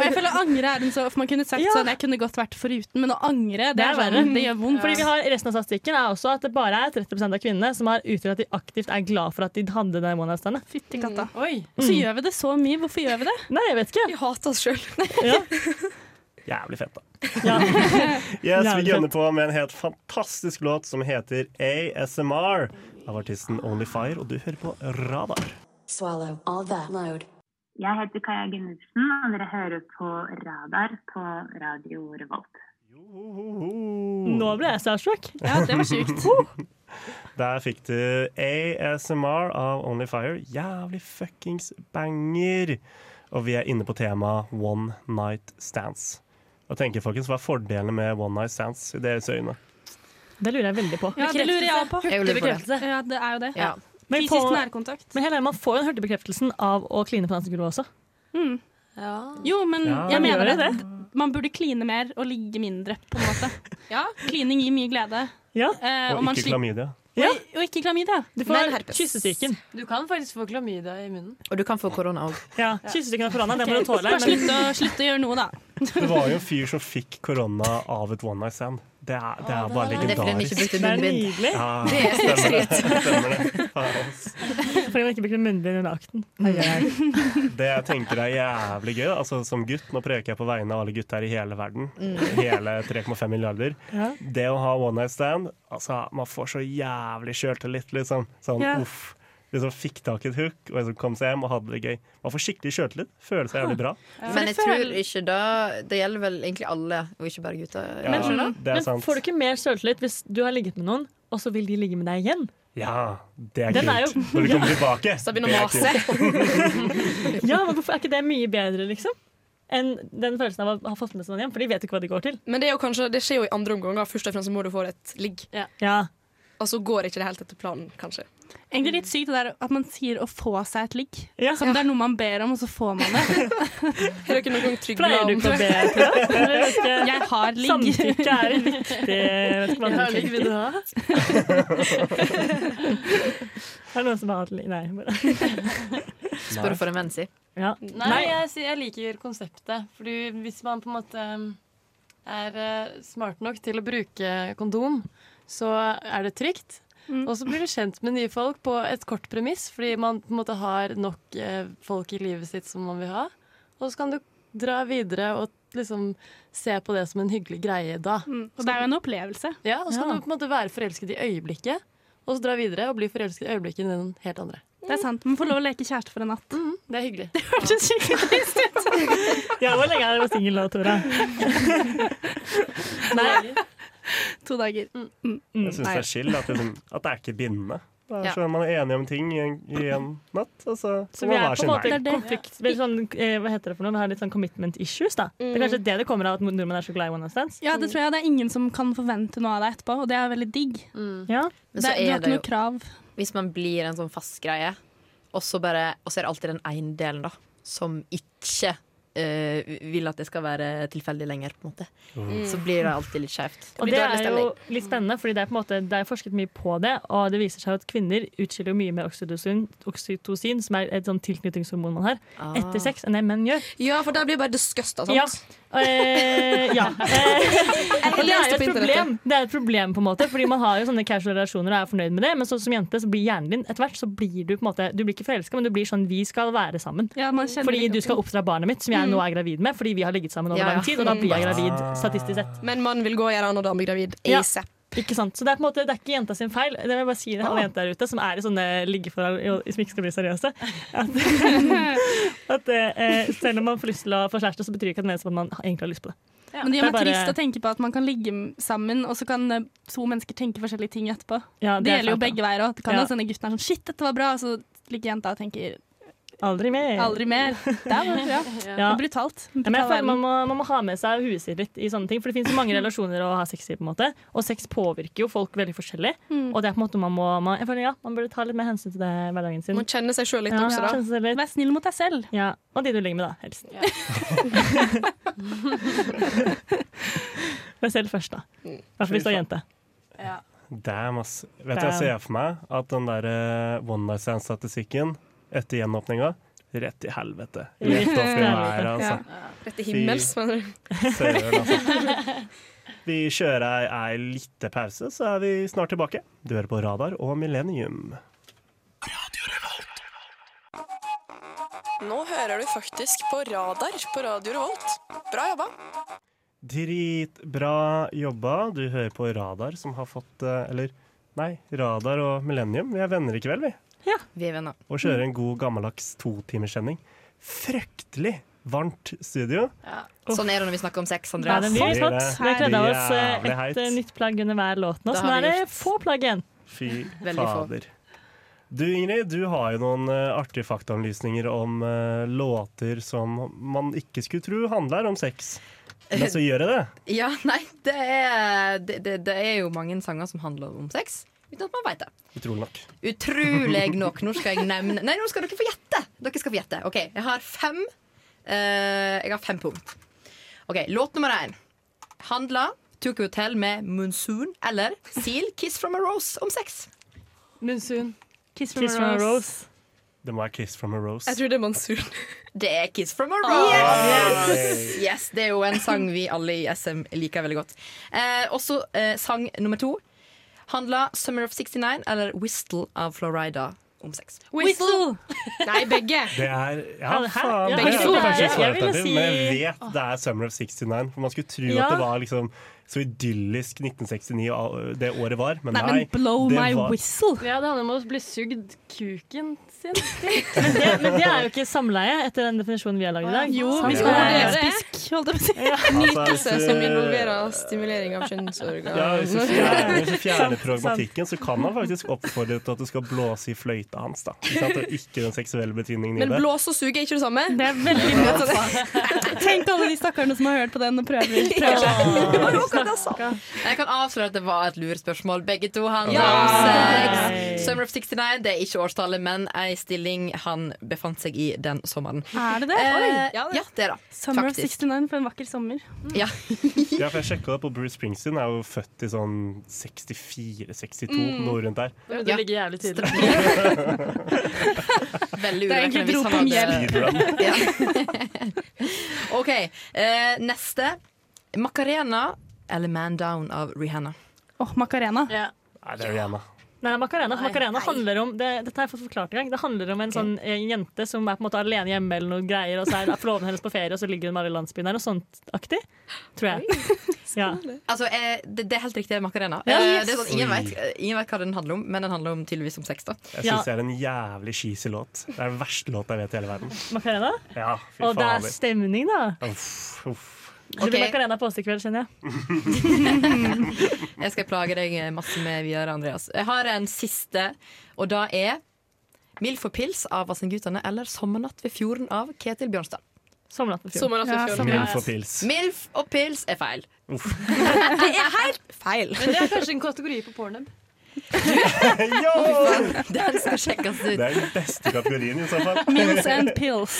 Speaker 7: jeg føler angre er en så for Man kunne sagt sånn jeg kunne godt vært foruten, men å angre, det, er verre. Det gjør vondt.
Speaker 1: Fordi vi har, resten av statistikken er også at det bare er 30 av kvinnene som har uttrykt at de aktivt er glad for at de hadde den One Night Standen.
Speaker 7: Fytti katta. Og Mm. så gjør vi det så mye. Hvorfor gjør vi det?
Speaker 1: Nei, jeg vet ikke.
Speaker 4: Mm. Vi hater oss sjøl.
Speaker 2: Jævlig fett, da. Yes, vi gønner på med en helt fantastisk låt som heter ASMR av artisten Only Fire, og du hører på Radar.
Speaker 15: Swallow all that load. Jeg heter Kaja Gunnufsen, og dere hører på Radar på Radio Revolt.
Speaker 1: Nå ble jeg starstruck.
Speaker 2: Der fikk du ASMR av Only Fire. Jævlig fuckings banger! Og vi er inne på temaet one night stands. Hva tenker folkens, hva er fordelene med one night stands i deres øyne?
Speaker 1: Det lurer jeg veldig på.
Speaker 7: Ja, det lurer jeg på.
Speaker 1: Hurtig bekreftelse.
Speaker 7: Ja, det er jo det.
Speaker 1: Ja. Men
Speaker 7: Fysisk
Speaker 1: på-
Speaker 7: nærkontakt.
Speaker 1: Men Helene, man får jo den hurtigbekreftelsen av å kline på dansegulvet også.
Speaker 7: Mm. Jo, men
Speaker 1: Ja.
Speaker 7: jeg
Speaker 1: Gjør
Speaker 7: mener
Speaker 1: det
Speaker 7: det. Man burde kline mer og ligge mindre, på en måte. ja. Klining gir mye glede. Eh,
Speaker 2: Og
Speaker 7: man
Speaker 2: ikke
Speaker 7: slipper-
Speaker 2: klamydia.
Speaker 7: Og, og ikke klamydia.
Speaker 1: Du får Men herpes. kyssesyken.
Speaker 6: Du kan faktisk få klamydia i munnen.
Speaker 5: Og du kan få korona òg.
Speaker 1: Ja, Kyssesyken av korona, det må du tåle.
Speaker 7: Bare slutt å, slutt å gjøre noe, da.
Speaker 2: Det var jo en fyr som fikk korona av et one night stand. Det er, det er bare
Speaker 5: Det er fordi hun
Speaker 2: legendarisk.
Speaker 5: ikke brukte munnbind.
Speaker 1: Det er nydelig. Det er
Speaker 2: stemmer,
Speaker 1: skryt.
Speaker 2: stemmer det. Faen, ass.
Speaker 1: Fordi man ikke brukte munnbind under akten.
Speaker 2: Det jeg tenker er jævlig gøy, da. altså som gutt, nå preker jeg på vegne av alle gutter i hele verden,
Speaker 1: Mm.
Speaker 2: hele 3,5 milliarder.
Speaker 1: Ja.
Speaker 2: Det å ha one night stand, altså man får så jævlig sjøltillit, liksom. Sånn
Speaker 1: Ja.
Speaker 2: uff. Liksom fikk tak i et hook og liksom kom seg hjem og hadde det gøy. Man får skikkelig sjøltillit, føler seg jævlig bra.
Speaker 5: Men jeg tror ikke da Det gjelder vel egentlig alle, og ikke bare gutter.
Speaker 2: Ja,
Speaker 1: men,
Speaker 2: det er
Speaker 1: men
Speaker 2: sant.
Speaker 1: får du ikke mer selvtillit hvis du har ligget med noen, og så vil de ligge med deg igjen?
Speaker 2: Ja, det er
Speaker 1: Den er
Speaker 2: kult.
Speaker 1: jo-
Speaker 2: Når du kommer tilbake.
Speaker 1: Så begynner
Speaker 2: det er
Speaker 1: å mase.
Speaker 2: kult.
Speaker 1: Ja, men hvorfor er ikke det mye bedre, liksom? Enn den følelsen av å ha fått med seg noen hjem, for de vet ikke hva de går til.
Speaker 4: Men det, er jo kanskje, det skjer jo i andre omganger. Først og fremst så må du få et ligg. Og så går ikke det helt etter planen, kanskje.
Speaker 7: Egentlig litt sykt det der at man sier å få seg et ligg.
Speaker 4: Ja.
Speaker 7: Som det er noe man ber om, og så får man det.
Speaker 4: Har dere noen gang trygg
Speaker 7: Pleier du
Speaker 4: navn?
Speaker 7: ikke å be til det? Eller vet ikke- Jeg har ligg.
Speaker 1: Samtykke er en viktig vet ikke hva
Speaker 7: Jeg har
Speaker 1: du
Speaker 7: ligg, vil
Speaker 1: tenker.
Speaker 7: du ha?
Speaker 1: Er det noen som har hatt ligg? Nei. bare-
Speaker 5: Spør for en venn, si.
Speaker 1: Ja.
Speaker 16: Nei, Jeg, sier- jeg liker konseptet. Fordi hvis man på en måte um, er eh, smart nok til å bruke kondom, så er det trygt. Og så blir du kjent med nye folk på et kort premiss, fordi man på en måte har nok eh, folk i livet sitt som man vil ha. Og så kan du dra videre og liksom se på det som en hyggelig greie da.
Speaker 7: Og det er jo en opplevelse.
Speaker 16: Ja, Og så kan
Speaker 7: Ja.
Speaker 16: du på en måte være forelsket i øyeblikket, og så dra videre og bli forelsket i øyeblikket i noen helt andre.
Speaker 7: Det er sant. Man får lov å leke kjæreste for en natt.
Speaker 16: Mm, det er hyggelig.
Speaker 7: Det hørtes skikkelig trist ut.
Speaker 1: Ja, hvor lenge er dere singel nå, Tora?
Speaker 7: To dager. Mm.
Speaker 2: Jeg syns det er chill at, liksom, at det er ikke bindende. Det er
Speaker 1: Ja.
Speaker 2: sånn Man er enige om ting i en, i en natt, og så
Speaker 1: Så vi
Speaker 2: kan man
Speaker 1: er
Speaker 2: være
Speaker 1: på en
Speaker 2: sin
Speaker 1: måte
Speaker 2: vei.
Speaker 1: konflikt vel, sånn, eh, Hva heter det for noe? Vi har litt sånn commitment issues, da. Det er
Speaker 7: Mm.
Speaker 1: kanskje det det kommer av at nordmenn er så glad i one night stands?
Speaker 7: Ja, det tror jeg. Det er ingen som kan forvente noe av deg etterpå, og det er veldig digg.
Speaker 16: Mm.
Speaker 1: Ja.
Speaker 5: Men
Speaker 7: Det,
Speaker 5: så
Speaker 7: er- du
Speaker 5: er
Speaker 7: har
Speaker 5: det
Speaker 7: ikke
Speaker 5: jo-
Speaker 7: noe krav.
Speaker 5: Hvis man blir en sånn fast greie, og så, bare, og så er det alltid den ene delen da, som ikke eh, vil at det skal være tilfeldig lenger, på en måte.
Speaker 1: Mm.
Speaker 5: Så blir det alltid litt skjevt.
Speaker 1: Og det er jo litt spennende, fordi det er, på en måte, det er forsket mye på det, og det viser seg at kvinner utskiller jo mye mer oksytocin, oksytocin som er et sånn tilknytningshormon man har,
Speaker 4: Ah.
Speaker 1: etter sex enn det menn gjør.
Speaker 4: Ja, for der blir jeg bare disgusta, sant?
Speaker 1: Ja. Eh, ja.
Speaker 4: Jeg
Speaker 1: Og det er
Speaker 4: leste
Speaker 1: jo et
Speaker 4: på internettet.
Speaker 1: problem, det er et problem på en måte Fordi man har jo sånne casual relasjoner og er fornøyd med det Men så, som jente så blir hjernen din Etter hvert så blir du på en måte Du blir ikke forelsket, men du blir sånn Vi skal være sammen
Speaker 7: kjenner
Speaker 1: Fordi
Speaker 7: litt
Speaker 1: du skal oppdra barnet mitt Som jeg nå er gravid med Fordi vi har ligget sammen over
Speaker 4: Ja, ja.
Speaker 1: lang tid Og da blir jeg
Speaker 4: Mm.
Speaker 1: gravid, statistisk sett
Speaker 4: Men mannen vil gå og gjøre annen dame gravid
Speaker 1: Ja.
Speaker 4: ASAP.
Speaker 1: Ikke sant? Så det er på en måte Det er ikke jenta sin feil Det vil jeg bare si det er alle jenter der ute Som er i sånne liggeforhold Som ikke skal bli seriøse At, at eh, selv om man får lyst til å få kjæreste Så betyr det ikke at det mener som at man egentlig har lyst på det
Speaker 7: Men det gjør
Speaker 1: Det
Speaker 7: meg
Speaker 1: er bare-
Speaker 7: trist å tenke på at man kan ligge m- sammen, og så kan eh, to mennesker tenke forskjellige ting etterpå.
Speaker 1: Ja,
Speaker 7: det,
Speaker 1: det er sant,
Speaker 7: gjelder jo
Speaker 1: da.
Speaker 7: begge veier òg. Det kan
Speaker 1: Ja.
Speaker 7: jo sånne gutten er sånn 'shit, dette var bra', og så ligger jenta og tenker
Speaker 1: Aldri mer.
Speaker 7: 'aldri mer'. Det er bare bra.
Speaker 1: Ja.
Speaker 7: Det er brutalt.
Speaker 1: Ja, men jeg
Speaker 7: Brutal
Speaker 1: føler man
Speaker 7: verden.
Speaker 1: må, man må ha med seg huet sitt litt i sånne ting. For det finnes så mange relasjoner å ha sex i. på en måte Og sex påvirker jo folk veldig forskjellig.
Speaker 7: Mm.
Speaker 1: Og det er på en måte man må man, jeg føler, ja, man burde ta litt mer hensyn til det i hverdagen sin.
Speaker 4: Man kjenner seg sjøl litt
Speaker 1: Ja,
Speaker 4: også, da.
Speaker 1: kjenne seg litt.
Speaker 7: Vær snill mot deg selv.
Speaker 1: Ja, Og de du ligger med, da. Helst. Vær selv først, da. I hvert fall hvis du er jente.
Speaker 2: Damn, ass. Vet du, jeg ser for meg at den der eh, one night stand-statistikken etter gjenåpninga Rett i helvete. Rett opp i været, altså.
Speaker 4: Ja. Rett til himmels,
Speaker 2: Fy
Speaker 4: mener du.
Speaker 2: søren, altså. Vi kjører ei, ei lite pause, så er vi snart tilbake. Du hører på Radar og Millennium.
Speaker 17: Nå hører du faktisk på Radar på Radio Revolt. Bra jobba!
Speaker 2: Dritbra jobba. Du hører på Radar, som har fått eh, Eller, nei, Radar og Millennium. Vi er venner i kveld, vi.
Speaker 1: Ja,
Speaker 5: vi er venner.
Speaker 2: Og kjører en god, gammeldags totimerssending. Fryktelig varmt studio.
Speaker 5: Sånn er det når vi snakker om sex,
Speaker 1: Nei,
Speaker 5: Andreas.
Speaker 1: den blir flott. Vi har kledd av oss eh,
Speaker 2: Jævlig heit.
Speaker 1: et eh, nytt plagg under hver låt nå,
Speaker 5: Da
Speaker 1: så nå er
Speaker 5: har vi
Speaker 1: det få plagg igjen.
Speaker 2: Fy
Speaker 1: Veldig få.
Speaker 2: fader. Du Ingrid, du har jo noen eh, artige faktaanlysninger om eh, låter som man ikke skulle tro handler om sex. Men så gjør jeg det.
Speaker 5: Ja, nei, det er, det, det, det er jo mange sanger som handler om sex, uten at man veit det.
Speaker 2: Utrolig nok.
Speaker 5: Utrolig nok. Nå skal jeg nevne Nei, nå skal dere få gjette! Dere skal få gjette. OK, jeg har fem eh, Jeg har fem punkt. OK, låt nummer én. Handla Took a Hotel med Monsoon eller Seal Kiss from a Rose om sex.
Speaker 16: Monsoon.
Speaker 7: Kiss
Speaker 1: Kiss from a Rose.
Speaker 2: Det må være 'Kiss from a Rose'.
Speaker 4: Jeg tror det er Mansour.
Speaker 5: Det er 'Kiss from a
Speaker 2: Ah,
Speaker 5: Rose'.
Speaker 2: yes!
Speaker 5: Yes! yes, Det er jo en sang vi alle i SM liker veldig godt. Eh, også eh, sang nummer to handla 'Summer of 69' eller 'Whistle' av Florida om sex.
Speaker 4: Whistle! Nei, begge.
Speaker 2: Det er Ja,
Speaker 5: Hæ?
Speaker 2: faen, det
Speaker 5: Begge
Speaker 2: er
Speaker 5: to.
Speaker 2: kanskje
Speaker 5: Jeg
Speaker 2: svaret
Speaker 5: ville
Speaker 2: etter,
Speaker 5: si-
Speaker 2: men jeg vet det er Summer of 69. For man skulle tro
Speaker 5: Ja.
Speaker 2: at det var liksom så idyllisk 1969 og, øh, det året var, men nei.
Speaker 7: Nei, men blow
Speaker 2: det
Speaker 7: my
Speaker 2: var-
Speaker 7: whistle.
Speaker 16: Ja, det handler om å bli sugd kuken sin.
Speaker 1: Men det, men det er jo ikke samleie etter den definisjonen vi har lagd i dag.
Speaker 4: Jo,
Speaker 1: Samleie
Speaker 4: vi skal
Speaker 1: er
Speaker 4: gjøre det.
Speaker 1: Spisk, holdt jeg på å si.
Speaker 4: Nytelse
Speaker 2: Altså, hvis du-
Speaker 4: som involverer stimulering av kjønnsorganer.
Speaker 2: Ja, hvis du fjerner, hvis du
Speaker 4: Sant,
Speaker 2: fjerner
Speaker 4: sant.
Speaker 2: pragmatikken, så kan han faktisk oppfordre til at du skal blåse i fløyta hans. da Ikke, sant? Og ikke den seksuelle betydningen i
Speaker 4: Men
Speaker 2: det.
Speaker 4: blås og sug er ikke det samme.
Speaker 7: Det er veldig altså.
Speaker 4: mye
Speaker 7: Tenk alle de stakkarene som har hørt på den og prøver, prøver
Speaker 5: Det var jo
Speaker 7: seg.
Speaker 5: akkurat det jeg sa. Jeg kan avsløre at det var et lurespørsmål. Begge to handler
Speaker 7: Ja!
Speaker 5: om sex. Summer of 69, det er ikke årstallet, men ei stilling han befant seg i den sommeren.
Speaker 7: Er det det?
Speaker 5: Eh,
Speaker 7: Oi.
Speaker 5: ja, det er det.
Speaker 7: Summer of
Speaker 5: Faktisk.
Speaker 7: 69 for en vakker sommer.
Speaker 5: Ja.
Speaker 2: Ja, for jeg sjekka det på Bruce Springsteen. Er jo født i sånn 64-62,
Speaker 16: Mm.
Speaker 2: noe rundt der.
Speaker 16: Men det ligger jævlig tidlig.
Speaker 5: Veldig
Speaker 16: Det er egentlig
Speaker 5: urovekkende hvis
Speaker 16: et rop om
Speaker 5: han hadde- Ja. OK. Eh, neste. Macarena eller Man Down av Rihanna.
Speaker 7: Åh, Macarena.
Speaker 2: Nei, det er Rihanna.
Speaker 1: Nei, Macarena, for Macarena handler om det, Dette har jeg fått forklart en gang. Det handler om en sånn eh, jente som er på en måte alene hjemme, eller noe greier og så er forloveden hennes på ferie, og så ligger hun med alle i landsbyen. Det er noe sånt aktig, tror jeg. Ja.
Speaker 5: Altså, eh, det, det er helt riktig, Macarena.
Speaker 1: Ja,
Speaker 5: Eh,
Speaker 1: yes.
Speaker 5: det er sånn, ingen,
Speaker 2: Oi.
Speaker 5: vet, eh, ingen vet hva den handler om, men den handler om tydeligvis om sex. da
Speaker 2: Jeg syns det er en jævlig cheesy låt. Det er den verste låta jeg vet i hele verden.
Speaker 1: Macarena?
Speaker 2: Ja, fy
Speaker 1: Og det er
Speaker 2: fader.
Speaker 1: stemning, da.
Speaker 2: Uff, uff.
Speaker 1: Det blir Macarena på oss i kveld, kjenner jeg.
Speaker 5: Jeg skal plage deg eh, masse med videre, Andreas. Jeg har en siste, og da er Mild for pils av Vassendgutane eller Sommernatt ved fjorden av Ketil Bjørnstad.
Speaker 1: Sommernatt ved
Speaker 5: fjorden.
Speaker 4: Sommernatt ved Ja, fjorden. sommernatt.
Speaker 2: Milf og pils.
Speaker 5: Milf og pils er feil. det er helt feil.
Speaker 16: Men det er kanskje en kategori på pornhub.
Speaker 5: Den skal sjekkes ut.
Speaker 2: Det er den beste kategorien, i så fall.
Speaker 7: Meals and pills.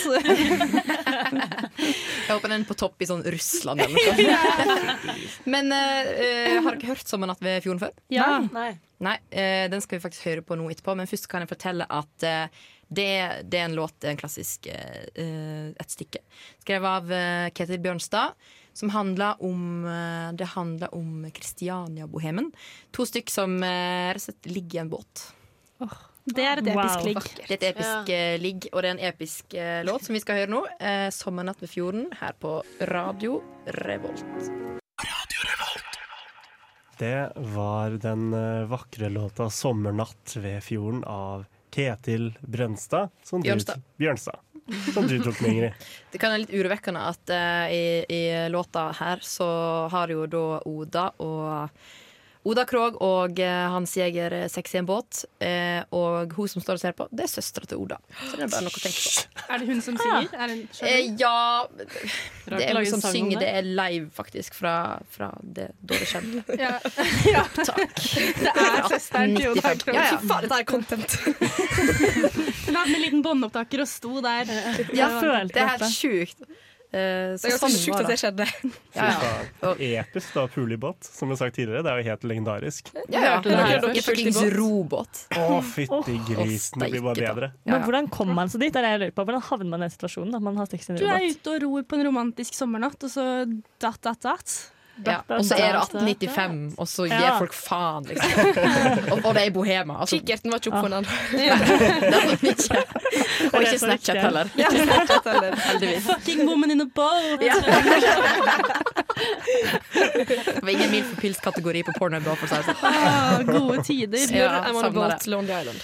Speaker 5: Jeg håper den er på topp i sånn Russland eller noe. Men eh, eh, har dere hørt 'Sommernatt ved fjorden' før?
Speaker 16: Ja. Nei.
Speaker 5: Nei, eh, Den skal vi faktisk høre på nå etterpå, men først kan jeg fortelle at eh, det, det er en låt, en klassisk eh, eh, et stykke, skrevet av eh, Ketil Bjørnstad, som handler om eh, Det handler om Kristiania-bohemen. To stykk som eh, rett og slett ligger i en båt.
Speaker 7: Det er et episk ligg.
Speaker 5: Det er et episk eh, ligg, og det er en episk eh, låt som vi skal høre nå. Eh, 'Sommernatt ved fjorden' her på Radio Revolt.
Speaker 2: Det var den eh, vakre låta 'Sommernatt ved fjorden' av Ketil Brønstad. Som du,
Speaker 5: Bjørnstad.
Speaker 2: Bjørnstad. Som du tok med, Ingrid.
Speaker 5: Det kan være litt urovekkende at eh, i, i låta her så har jo da Oda og Oda Krog og eh, Hans Jæger sex i en båt. eh, og hun som står og ser på, det er søstera til Oda. Så det er bare noe å tenke på.
Speaker 7: Er det hun som synger? Er hun selv?
Speaker 5: Eh, ja
Speaker 7: å
Speaker 5: Det er
Speaker 7: lage
Speaker 5: hun
Speaker 7: en
Speaker 5: som
Speaker 7: sang om
Speaker 5: synger.
Speaker 7: det.
Speaker 5: Det er live, faktisk, fra, fra det, da det skjedde.
Speaker 7: Eh,
Speaker 4: Ja.
Speaker 5: Takk.
Speaker 4: Det er søsteren til Oda Krogh.
Speaker 5: Ja, ja.
Speaker 4: Fy faen, dette er content.
Speaker 7: Hun hadde med en liten båndopptaker og sto der.
Speaker 5: Ja, det er helt sjukt. Eh,
Speaker 4: Det er ganske
Speaker 5: sånn
Speaker 4: sjukt
Speaker 5: var
Speaker 4: at det skjedde.
Speaker 5: Ja, ja.
Speaker 2: Episk da, pulibåt, som jeg har sagt tidligere. Det er jo helt legendarisk.
Speaker 5: Ja, ja.
Speaker 1: Hørte du det her
Speaker 5: I
Speaker 1: først?
Speaker 5: fuckings robåt.
Speaker 2: Å, fytti grisen, det blir bare bedre.
Speaker 1: Men hvordan kom man seg dit? Det er det jeg lurer på. Hvordan havner man i den situasjonen? At man har sex i en
Speaker 7: Du er
Speaker 1: robot?
Speaker 7: ute og ror på en romantisk sommernatt, og så datt, datt, datt.
Speaker 5: Ja, og så er det 1895, og så gir
Speaker 7: Ja.
Speaker 5: folk faen, liksom. Og, og det er bohema. Altså.
Speaker 4: Kikkerten var ikke opp på den.
Speaker 5: Og ikke Snapchat heller.
Speaker 4: Ja, Snapchat heller.
Speaker 5: Heldigvis.
Speaker 7: Fucking woman in a bowl!
Speaker 5: Det var ingen mild for pils-kategori på porno. Bra for seg. altså.
Speaker 7: Ah, gode tider.
Speaker 5: Ja,
Speaker 4: I'm on a
Speaker 5: savner
Speaker 4: boat,
Speaker 5: det.
Speaker 4: Lonely Island.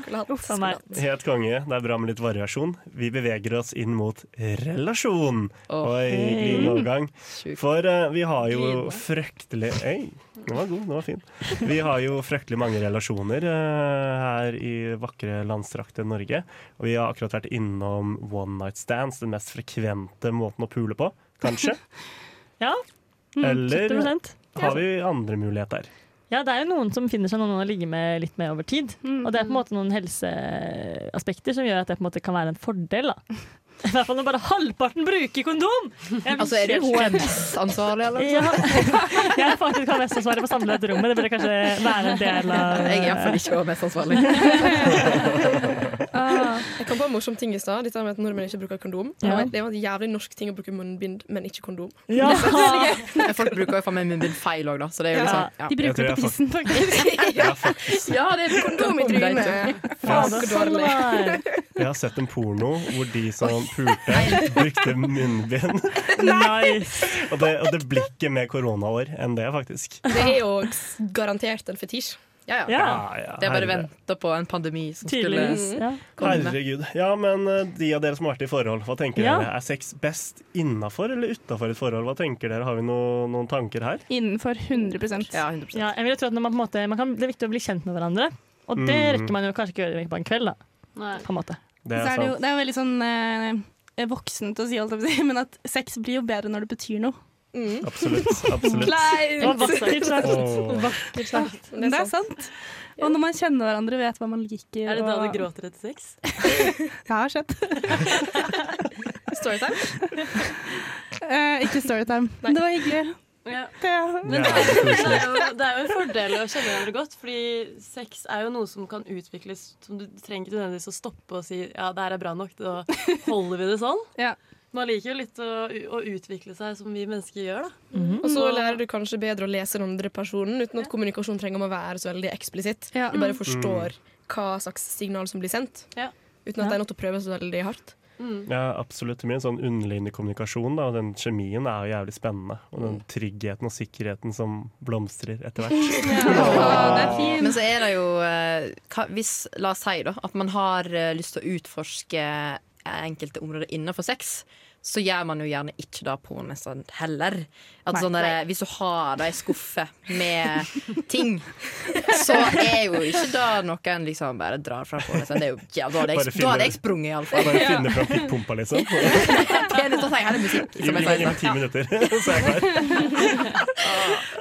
Speaker 4: Skulle hatt.
Speaker 1: Uff a meg.
Speaker 2: Helt konge. Det er bra med litt variasjon. Vi beveger oss inn mot relasjon. Oi, glidende overgang. For eh, vi har jo fryktelig Oi, den var god. Den var fin. Vi har jo fryktelig mange relasjoner eh, her i vakre, landstrakte Norge. Og vi har akkurat vært innom one night stands, den mest frekvente måten å pule på, kanskje.
Speaker 1: Ja. Mm,
Speaker 2: Eller
Speaker 1: 70%.
Speaker 2: har vi andre muligheter?
Speaker 1: Ja, det er jo noen som finner seg noen å ligge med litt med over tid. Og det er på en måte noen helseaspekter som gjør at det på en måte kan være en fordel. Da. I hvert fall når bare halvparten bruker kondom! Jeg blir
Speaker 5: Altså, er du
Speaker 1: helt-
Speaker 5: HMS-ansvarlig, eller?
Speaker 1: Ja. Jeg er faktisk HMS-ansvarlig på samlet rommet. Det burde kanskje være en del av
Speaker 5: Jeg er iallfall ikke HMS-ansvarlig.
Speaker 4: Jeg kom på en morsom ting i stad. Dette med at nordmenn ikke bruker kondom.
Speaker 5: Ja.
Speaker 4: Det var en jævlig norsk ting å bruke munnbind, men ikke kondom.
Speaker 5: Ja.
Speaker 4: Det er veldig gøy.
Speaker 5: Men Folk bruker jo faen meg munnbind feil òg, da. Så det er jo
Speaker 4: Ja.
Speaker 5: liksom,
Speaker 4: De bruker Jeg tror det på jeg tissen,
Speaker 5: faktisk. ja, det er kondom i trynet. Faen, så dårlig.
Speaker 2: Jeg har sett en porno hvor de som pulte, brukte munnbind.
Speaker 1: Nice.
Speaker 2: Og det, og det blir ikke mer koronaår enn det, faktisk.
Speaker 4: Det er jo s- garantert en fetisj.
Speaker 5: Ja,
Speaker 2: Ja, ja,
Speaker 5: Det er bare
Speaker 2: herre.
Speaker 5: venta på en pandemi som
Speaker 2: Tydeligvis,
Speaker 5: skulle
Speaker 1: ja.
Speaker 5: komme.
Speaker 2: Herregud. Ja, men eh, de av dere som har vært i forhold, hva tenker
Speaker 5: Ja.
Speaker 2: dere? Er sex best innafor eller utafor et forhold? Hva tenker dere? Har vi no, noen tanker her?
Speaker 7: Innenfor 100
Speaker 5: Ja,
Speaker 1: Ja, jeg vil jo tro at når man på en måte, man kan, Det er viktig å bli kjent med hverandre, og det
Speaker 2: Mm.
Speaker 1: rekker man jo kanskje ikke å gjøre på en kveld. da På en måte
Speaker 2: Det er
Speaker 7: Så er det, jo,
Speaker 2: sant.
Speaker 7: det er jo veldig sånn eh, voksent å si, holdt jeg på å si, men at sex blir jo bedre når det betyr noe.
Speaker 2: Absolutt. absolutt.
Speaker 7: Kleint.
Speaker 1: Det var vakkert sagt.
Speaker 2: Åh.
Speaker 1: Vakkert sagt.
Speaker 7: Det er sant. Og når man kjenner hverandre, vet hva man liker.
Speaker 16: Er det da
Speaker 7: og-
Speaker 16: du gråter etter sex?
Speaker 7: Det har skjedd.
Speaker 4: Storytime?
Speaker 7: Eh, ikke storytime. Men det var hyggelig. Det-
Speaker 16: Men det,
Speaker 7: Ja, det er
Speaker 16: det,
Speaker 7: koselig.
Speaker 16: er jo, det er jo en fordel å kjenne hverandre godt, fordi sex er jo noe som kan utvikles. Som du trenger ikke nødvendigvis å stoppe og si ja, det her er bra nok, da holder vi det sånn. Man liker jo litt å, å utvikle seg som vi mennesker gjør, da.
Speaker 4: Mm. Og så lærer du kanskje bedre å lese den andre personen uten at kommunikasjon trenger å være så veldig eksplisitt. Du
Speaker 5: Mm.
Speaker 4: bare forstår hva slags signal som blir sendt, uten at det er noe å prøve så veldig hardt.
Speaker 2: Ja, absolutt. Det blir en sånn underliggende kommunikasjon, da, og den kjemien er jo jævlig spennende. Og den tryggheten og sikkerheten som blomstrer etter hvert.
Speaker 5: Men så er det jo eh, hva, hvis, La oss si da, at man har eh, lyst til å utforske eh, enkelte områder innenfor sex. Så gjør man jo gjerne ikke det på nesten heller. At
Speaker 8: Nei.
Speaker 5: sånn der, hvis du har det i skuffe med ting, så er jo ikke det noe en liksom bare drar fra på. Liksom. Det er jo, ja, da hadde jeg,
Speaker 2: Bare
Speaker 5: da hadde jeg
Speaker 2: finner-
Speaker 5: sprunget, iallfall.
Speaker 2: Bare finne fram pikkpumpa, liksom.
Speaker 5: Penest å si her er musikk.
Speaker 2: Gi
Speaker 5: Som
Speaker 2: meg
Speaker 5: jeg sier.
Speaker 2: gi meg ti minutter, så er jeg klar.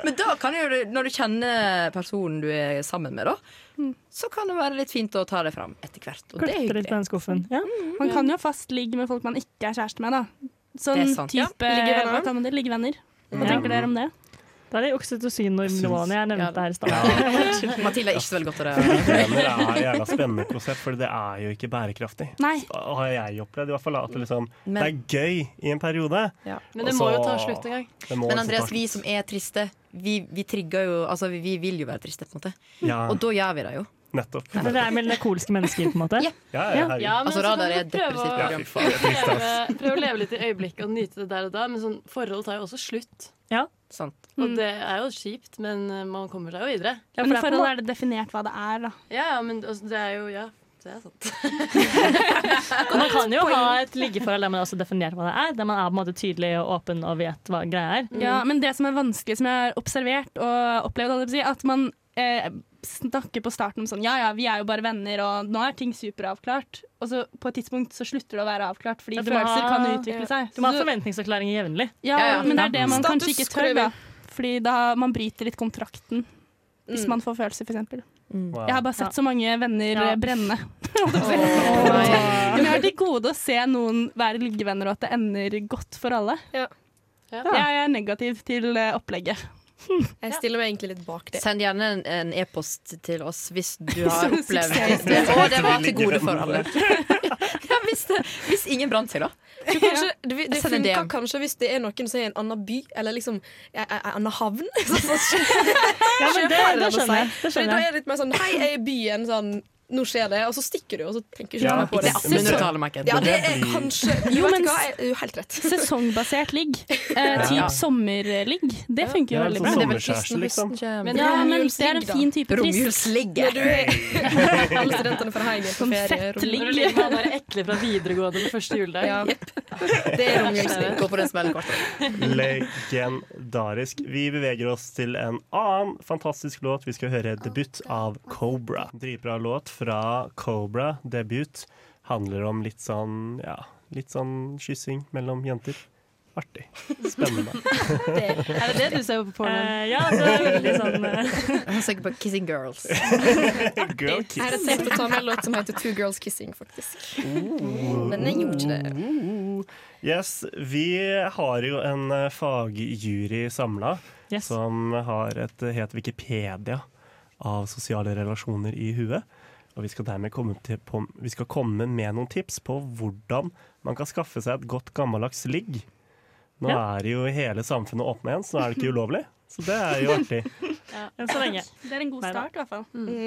Speaker 5: Men da kan jo du, når du kjenner personen du er sammen med, da,
Speaker 8: Mm.
Speaker 5: så kan det være litt fint å ta det fram etter hvert. Og det
Speaker 1: Klippe
Speaker 5: er
Speaker 1: litt på
Speaker 5: hyggelig.
Speaker 1: den skuffen. Ja.
Speaker 7: Man kan jo ha fast ligg med folk man ikke er kjæreste med, da.
Speaker 5: Det
Speaker 7: Sånn
Speaker 5: er sant.
Speaker 7: type
Speaker 5: Ja, liggevenner.
Speaker 7: Hva kaller man det? Liggevenner. Hva
Speaker 1: Ja.
Speaker 7: tenker dere om det?
Speaker 1: Da er det oksytocin-hormonene jeg nevnte her i stad.
Speaker 5: Mathilde er ikke så veldig godt til
Speaker 2: Mener det er et
Speaker 5: det.
Speaker 2: jævla spennende konsept, for det er jo ikke bærekraftig.
Speaker 7: Nei.
Speaker 2: Så har jeg opplevd i hvert fall at det, liksom, det
Speaker 5: Men-
Speaker 2: er gøy i en periode.
Speaker 5: Men det
Speaker 2: og
Speaker 5: må
Speaker 2: så-
Speaker 5: jo ta slutt en gang.
Speaker 4: Mm.
Speaker 2: Det må
Speaker 5: Men
Speaker 2: liksom
Speaker 5: Andreas,
Speaker 2: ta
Speaker 5: vi
Speaker 2: slutt.
Speaker 5: som er triste, vi, vi trigger jo Altså, vi, vi vil jo være triste, på en måte.
Speaker 2: Ja.
Speaker 5: Og da gjør vi det jo.
Speaker 2: Nettopp.
Speaker 1: Men det er melankolske mennesker, på en måte.
Speaker 2: Ja, ja, herregud.
Speaker 16: Ja, men
Speaker 5: Altså,
Speaker 16: så kan
Speaker 5: radar
Speaker 16: du
Speaker 5: er et
Speaker 16: prøve å-
Speaker 5: depressivt program.
Speaker 2: Ja, fy faen, det er trist, ass.
Speaker 16: Prøve, prøve å leve litt i øyeblikket og nyte det der og da, men sånn, forholdet tar jo også slutt.
Speaker 1: Ja.
Speaker 5: Sant.
Speaker 16: Og det er jo kjipt, men eh, man kommer seg jo videre.
Speaker 7: Ja, men forhold er det definert hva det er, da.
Speaker 16: Ja, ja, men altså, det er jo Ja, det er sant.
Speaker 1: Man kan jo ha et liggeforhold der man også definerer hva det er, der man er på en måte tydelig og åpen og vet hva greia er.
Speaker 7: Ja, men det som er vanskelig, som jeg har observert og opplevd, holdt jeg på å si, at man eh, snakker på starten om sånn ja ja, vi er jo bare venner, og nå er ting superavklart. Og så på et tidspunkt så slutter det å være avklart, fordi
Speaker 1: Ja, du må
Speaker 7: følelser
Speaker 1: ha-
Speaker 7: kan utvikle seg.
Speaker 1: Du må ha
Speaker 7: Så du-
Speaker 1: forventningserklæringer jevnlig.
Speaker 7: ja, men det er det man kanskje ikke tør, da.
Speaker 1: Status
Speaker 7: Fordi da man bryter litt kontrakten. Hvis
Speaker 1: Mm.
Speaker 7: man får følelser, f.eks.
Speaker 1: Wow.
Speaker 7: Jeg har bare sett så mange venner
Speaker 1: Ja.
Speaker 7: eh, brenne. holdt jeg på å si. Men jeg har til gode å se noen være liggevenner, og at det ender godt for alle. Jeg er negativ til eh, opplegget.
Speaker 4: Jeg stiller meg egentlig litt bak det.
Speaker 5: Send gjerne en- en e-post til oss hvis du har
Speaker 4: Som
Speaker 5: opplevd
Speaker 4: suksess.
Speaker 5: det. Og det var til
Speaker 4: Vi ligger
Speaker 5: gode
Speaker 4: den
Speaker 5: for
Speaker 4: der.
Speaker 5: alle. Ja, hvis, det, hvis ingen brant seg, da.
Speaker 4: Du, kanskje, det det
Speaker 5: Jeg sender
Speaker 4: funker
Speaker 5: DM.
Speaker 4: kanskje hvis det er noen som er i en annen by, eller liksom en annen havn. Så,
Speaker 1: Ja,
Speaker 4: så,
Speaker 1: men det-
Speaker 4: skjønner
Speaker 1: det skjønner jeg, det
Speaker 4: Fordi
Speaker 1: skjønner
Speaker 4: Da
Speaker 1: jeg.
Speaker 4: er det litt mer sånn Hei, jeg er i byen. Sånn, nå skjer det. Og så stikker du, og så tenker du ikke
Speaker 1: Ja,
Speaker 4: mer på det.
Speaker 1: ikke sant. Men det- Marken.
Speaker 4: Ja, det
Speaker 1: Men
Speaker 4: er
Speaker 1: det blir-
Speaker 4: kanskje Jo,
Speaker 7: Jo,
Speaker 4: vet
Speaker 7: men
Speaker 4: du hva, jeg er jo helt rett.
Speaker 7: Sesongbasert ligg. Eh,
Speaker 4: Ja.
Speaker 7: typ sommerligg. Det funker jo
Speaker 4: Ja,
Speaker 7: veldig
Speaker 4: sånn
Speaker 7: bra.
Speaker 4: sommerkjæreste, liksom.
Speaker 7: Men, ja, men det er en fin type
Speaker 5: Romjulsligg.
Speaker 4: Når du er alle studentene fra Heim er på
Speaker 16: Sånn
Speaker 4: ferie.
Speaker 16: fettligg. Når du ligger med han der ekle fra videregående på første juledag.
Speaker 4: Ja. Det er romjulsligg.
Speaker 5: Gå på den smellen kort.
Speaker 2: Legendarisk. Vi beveger oss til en annen fantastisk låt. Vi skal høre debut av Cobra. Dritbra låt fra Cobra. Debut handler om litt sånn, ja, litt sånn kyssing mellom jenter. Artig. Spennende.
Speaker 16: Er det det du ser på porno?
Speaker 1: Eh, ja, det er veldig sånn
Speaker 5: Han søker på 'Kissing Girls'.
Speaker 2: Girl
Speaker 4: Jeg hadde tenkt å ta med en låt som heter Two Girls Kissing, faktisk. Men jeg gjorde ikke det.
Speaker 2: Yes, vi har jo en eh, fagjury samla som har et eh, het Wikipedia av sosiale relasjoner i huet. Og vi skal dermed komme, til, på, vi skal komme med noen tips på hvordan man kan skaffe seg et godt gammeldags ligg. Nå
Speaker 1: Ja.
Speaker 2: er jo hele samfunnet åpne igjen, så nå er det ikke ulovlig. Så det er jo artig.
Speaker 7: Ja.
Speaker 1: Enn så lenge.
Speaker 7: Det er en god
Speaker 1: Neida.
Speaker 7: start, i hvert fall.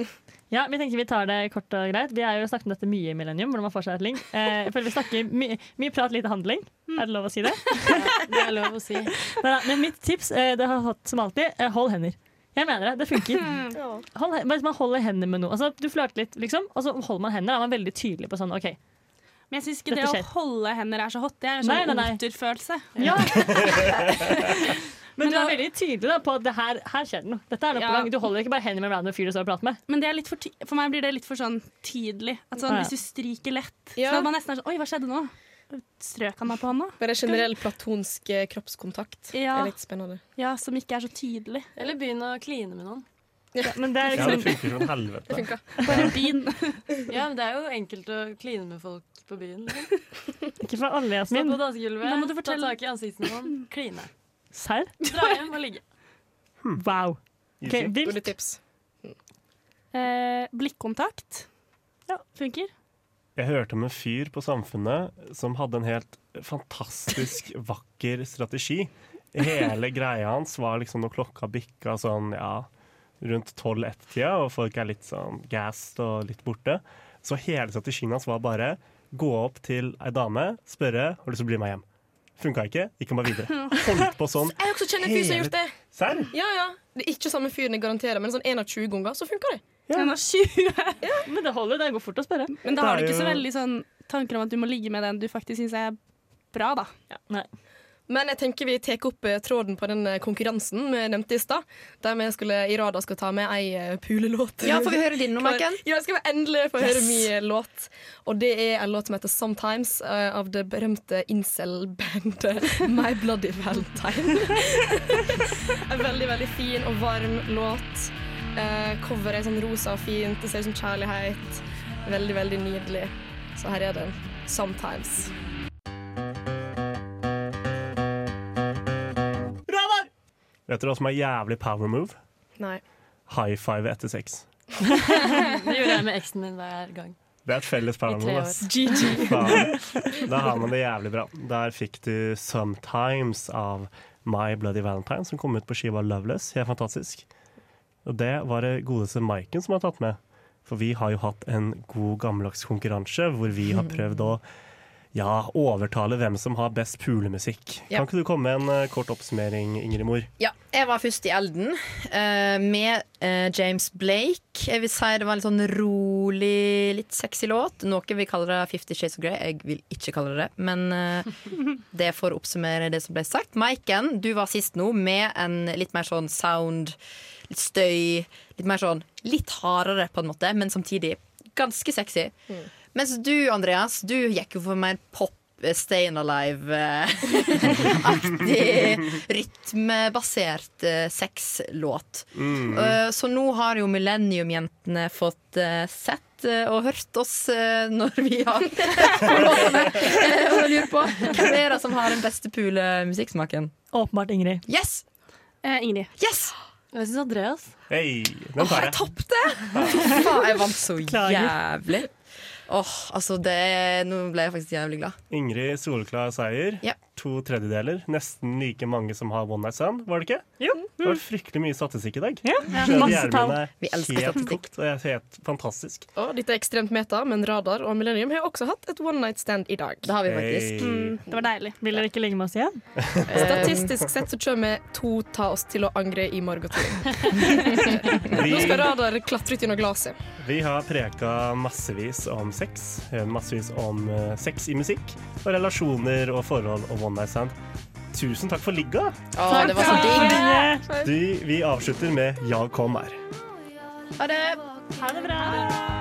Speaker 1: Ja, vi tenker vi tar det kort og greit. Vi har jo snakket om dette mye i Millennium. hvordan man får seg et link. Eh, jeg føler vi snakker my Mye prat, lite handling. Er det lov å si det?
Speaker 16: Det er lov å si.
Speaker 1: Neida, men mitt tips eh, det har jeg hatt som alltid eh, hold hender. Jeg mener det. Det funker. Hold, he- man holder hender med noe. Altså, du flørter litt, liksom, og så holder man hender. Da er man veldig tydelig på sånn OK.
Speaker 7: Men jeg syns ikke det
Speaker 1: Dette
Speaker 7: å
Speaker 1: skjer.
Speaker 7: holde hender er så hot. Det er en
Speaker 1: Nei,
Speaker 7: sånn
Speaker 1: nei, nei.
Speaker 7: oterfølelse.
Speaker 1: Ja. Men du er veldig tydelig da, på at det her, her skjer det noe. Dette er noe på
Speaker 7: Ja.
Speaker 1: gang. Du holder ikke bare hender med en random fyr du står og prater med.
Speaker 7: Men det er litt for, ti- for meg blir det litt for sånn tydelig. At sånn,
Speaker 1: Ja.
Speaker 7: Hvis du stryker lett,
Speaker 4: Ja.
Speaker 7: så at man nesten er sånn Oi, hva skjedde nå? Strøk han meg på hånda?
Speaker 4: Bare generell platonsk eh, kroppskontakt.
Speaker 7: Ja.
Speaker 4: Det er litt spennende.
Speaker 7: Ja, som ikke er så tydelig.
Speaker 16: Eller begynn å kline med noen.
Speaker 7: Ja, men det
Speaker 1: liksom
Speaker 2: Ja, det funker som helvete.
Speaker 7: Bare byen.
Speaker 16: Ja, men det er jo enkelt å kline med folk på byen. liksom.
Speaker 1: Ikke for alle,
Speaker 16: Stå
Speaker 1: Jasmin.
Speaker 16: på dansegulvet,
Speaker 7: Da må du
Speaker 16: ta
Speaker 7: fortelle-
Speaker 16: tak i ansiktet på noen, kline.
Speaker 1: Serr?
Speaker 16: Dra hjem og ligge.
Speaker 1: Wow. Ok, Birk,
Speaker 7: Eh, blikkontakt. Ja, funker.
Speaker 2: Jeg hørte om en fyr på Samfunnet som hadde en helt fantastisk vakker strategi. Hele greia hans var liksom når klokka bikka sånn, ja, rundt 12-1-tida, og folk er litt sånn gassed og litt borte, så hele strategien hans var bare gå opp til ei dame, spørre har du lyst til å bli med hjem. Funka ikke, gikk han bare videre. Holdt på sånn.
Speaker 4: Jeg også kjenner en fyr som har gjort det.
Speaker 2: Serr?
Speaker 4: Ja, ja. Det er ikke samme fyren, jeg garanterer, men sånn en av 20 ganger, så funker det.
Speaker 7: En av 20.
Speaker 1: Men det holder, det går fort å spørre.
Speaker 7: Men da
Speaker 4: Det
Speaker 7: har
Speaker 4: er
Speaker 7: du ikke så
Speaker 4: jo-
Speaker 7: veldig sånn tanker om at du må ligge med den du faktisk syns er bra, da.
Speaker 1: Nei.
Speaker 4: Men jeg tenker vi tar opp eh, tråden på den eh, konkurransen vi nevnte i stad. Der vi skulle, i Rada skal ta med ei eh, pulelåt.
Speaker 5: Ja, får vi høre din nå, Maiken?
Speaker 4: Ja, skal vi endelig få
Speaker 5: Yes.
Speaker 4: høre min eh, låt. Og det er en låt som heter 'Sometimes' eh, av det berømte incel-bandet My Bloody Valentine. en veldig, veldig fin og varm låt. Eh, Coveret er sånn rosa og fint, det ser ut som kjærlighet. Veldig, veldig nydelig. Så her er den. 'Sometimes'.
Speaker 2: Vet dere hva som er jævlig power move?
Speaker 4: Nei.
Speaker 2: High five etter sex.
Speaker 16: Det gjorde jeg med eksen min hver gang.
Speaker 2: Det er et felles
Speaker 16: tre
Speaker 2: paranormal. ass.
Speaker 16: år. GG.
Speaker 2: Faen. Da har man det jævlig bra. Der fikk du 'Sometimes' av My Bloody Valentine, som kom ut på skiva Loveless. Helt fantastisk. Og det var det godeste Maiken som har tatt med. For vi har jo hatt en god gammeldags konkurranse hvor vi har prøvd å ja, overtale hvem som har best pulemusikk.
Speaker 5: Ja.
Speaker 2: Kan ikke du komme med en eh, kort oppsummering, Ingrid Mor?
Speaker 5: Ja, jeg var først i elden eh, med eh, James Blake. Jeg vil si det var en litt sånn rolig, litt sexy låt. Noe vi kaller det Fifty Shades of Grey. Jeg vil ikke kalle det det, men eh, det får oppsummere det som ble sagt. Maiken, du var sist nå med en litt mer sånn sound, litt støy, litt mer sånn litt hardere på en måte, men samtidig ganske sexy. Mens du, Andreas, du gikk jo for mer pop. eh, Stayin' eh, Alive-aktig rytmebasert eh, sexlåt.
Speaker 18: Mm.
Speaker 5: Eh, så nå har jo Millennium-jentene fått eh, sett eh, og hørt oss eh, når vi har låtene. Eh, og jeg lurer på, Hvem er det som har den beste pulemusikksmaken?
Speaker 1: Åpenbart Ingrid.
Speaker 5: Yes!
Speaker 7: Ingrid.
Speaker 5: Yes!
Speaker 16: Jeg syns Andreas.
Speaker 2: Hei, den tar jeg.
Speaker 5: Faen, jeg vant så
Speaker 2: Beklager.
Speaker 5: jævlig. Åh, altså det Nå ble jeg faktisk jævlig glad.
Speaker 2: Ingrid soleklar seier.
Speaker 5: Ja.
Speaker 2: To tredjedeler. Nesten like mange som har One Night Stand, var det ikke? Det var fryktelig mye statistikk i dag.
Speaker 4: Mm. Ja,
Speaker 2: Skjønner
Speaker 4: masse
Speaker 2: hjernen
Speaker 4: tall.
Speaker 2: min er
Speaker 4: Vi elsker
Speaker 2: helt
Speaker 4: statistikk.
Speaker 2: kokt, og jeg er helt fantastisk.
Speaker 4: Og dette er ekstremt meta, men Radar og Millennium har også hatt et one night stand i dag.
Speaker 5: Det har
Speaker 2: vi faktisk. Hey. Mm,
Speaker 7: det var deilig.
Speaker 1: Vil dere ikke ligge med oss igjen?
Speaker 4: Statistisk sett så kommer to ta oss til å angre i morgen. Nå skal Radar klatre ut gjennom glasset.
Speaker 2: Vi har preka massevis om sex, eh, massevis om eh, sex i musikk, og relasjoner og forhold og One Night Stand. Tusen takk for ligga!
Speaker 5: Å, det var så digg.
Speaker 2: Du, vi avslutter med 'Jag kommer'.
Speaker 5: Ha det.
Speaker 7: Ha det bra.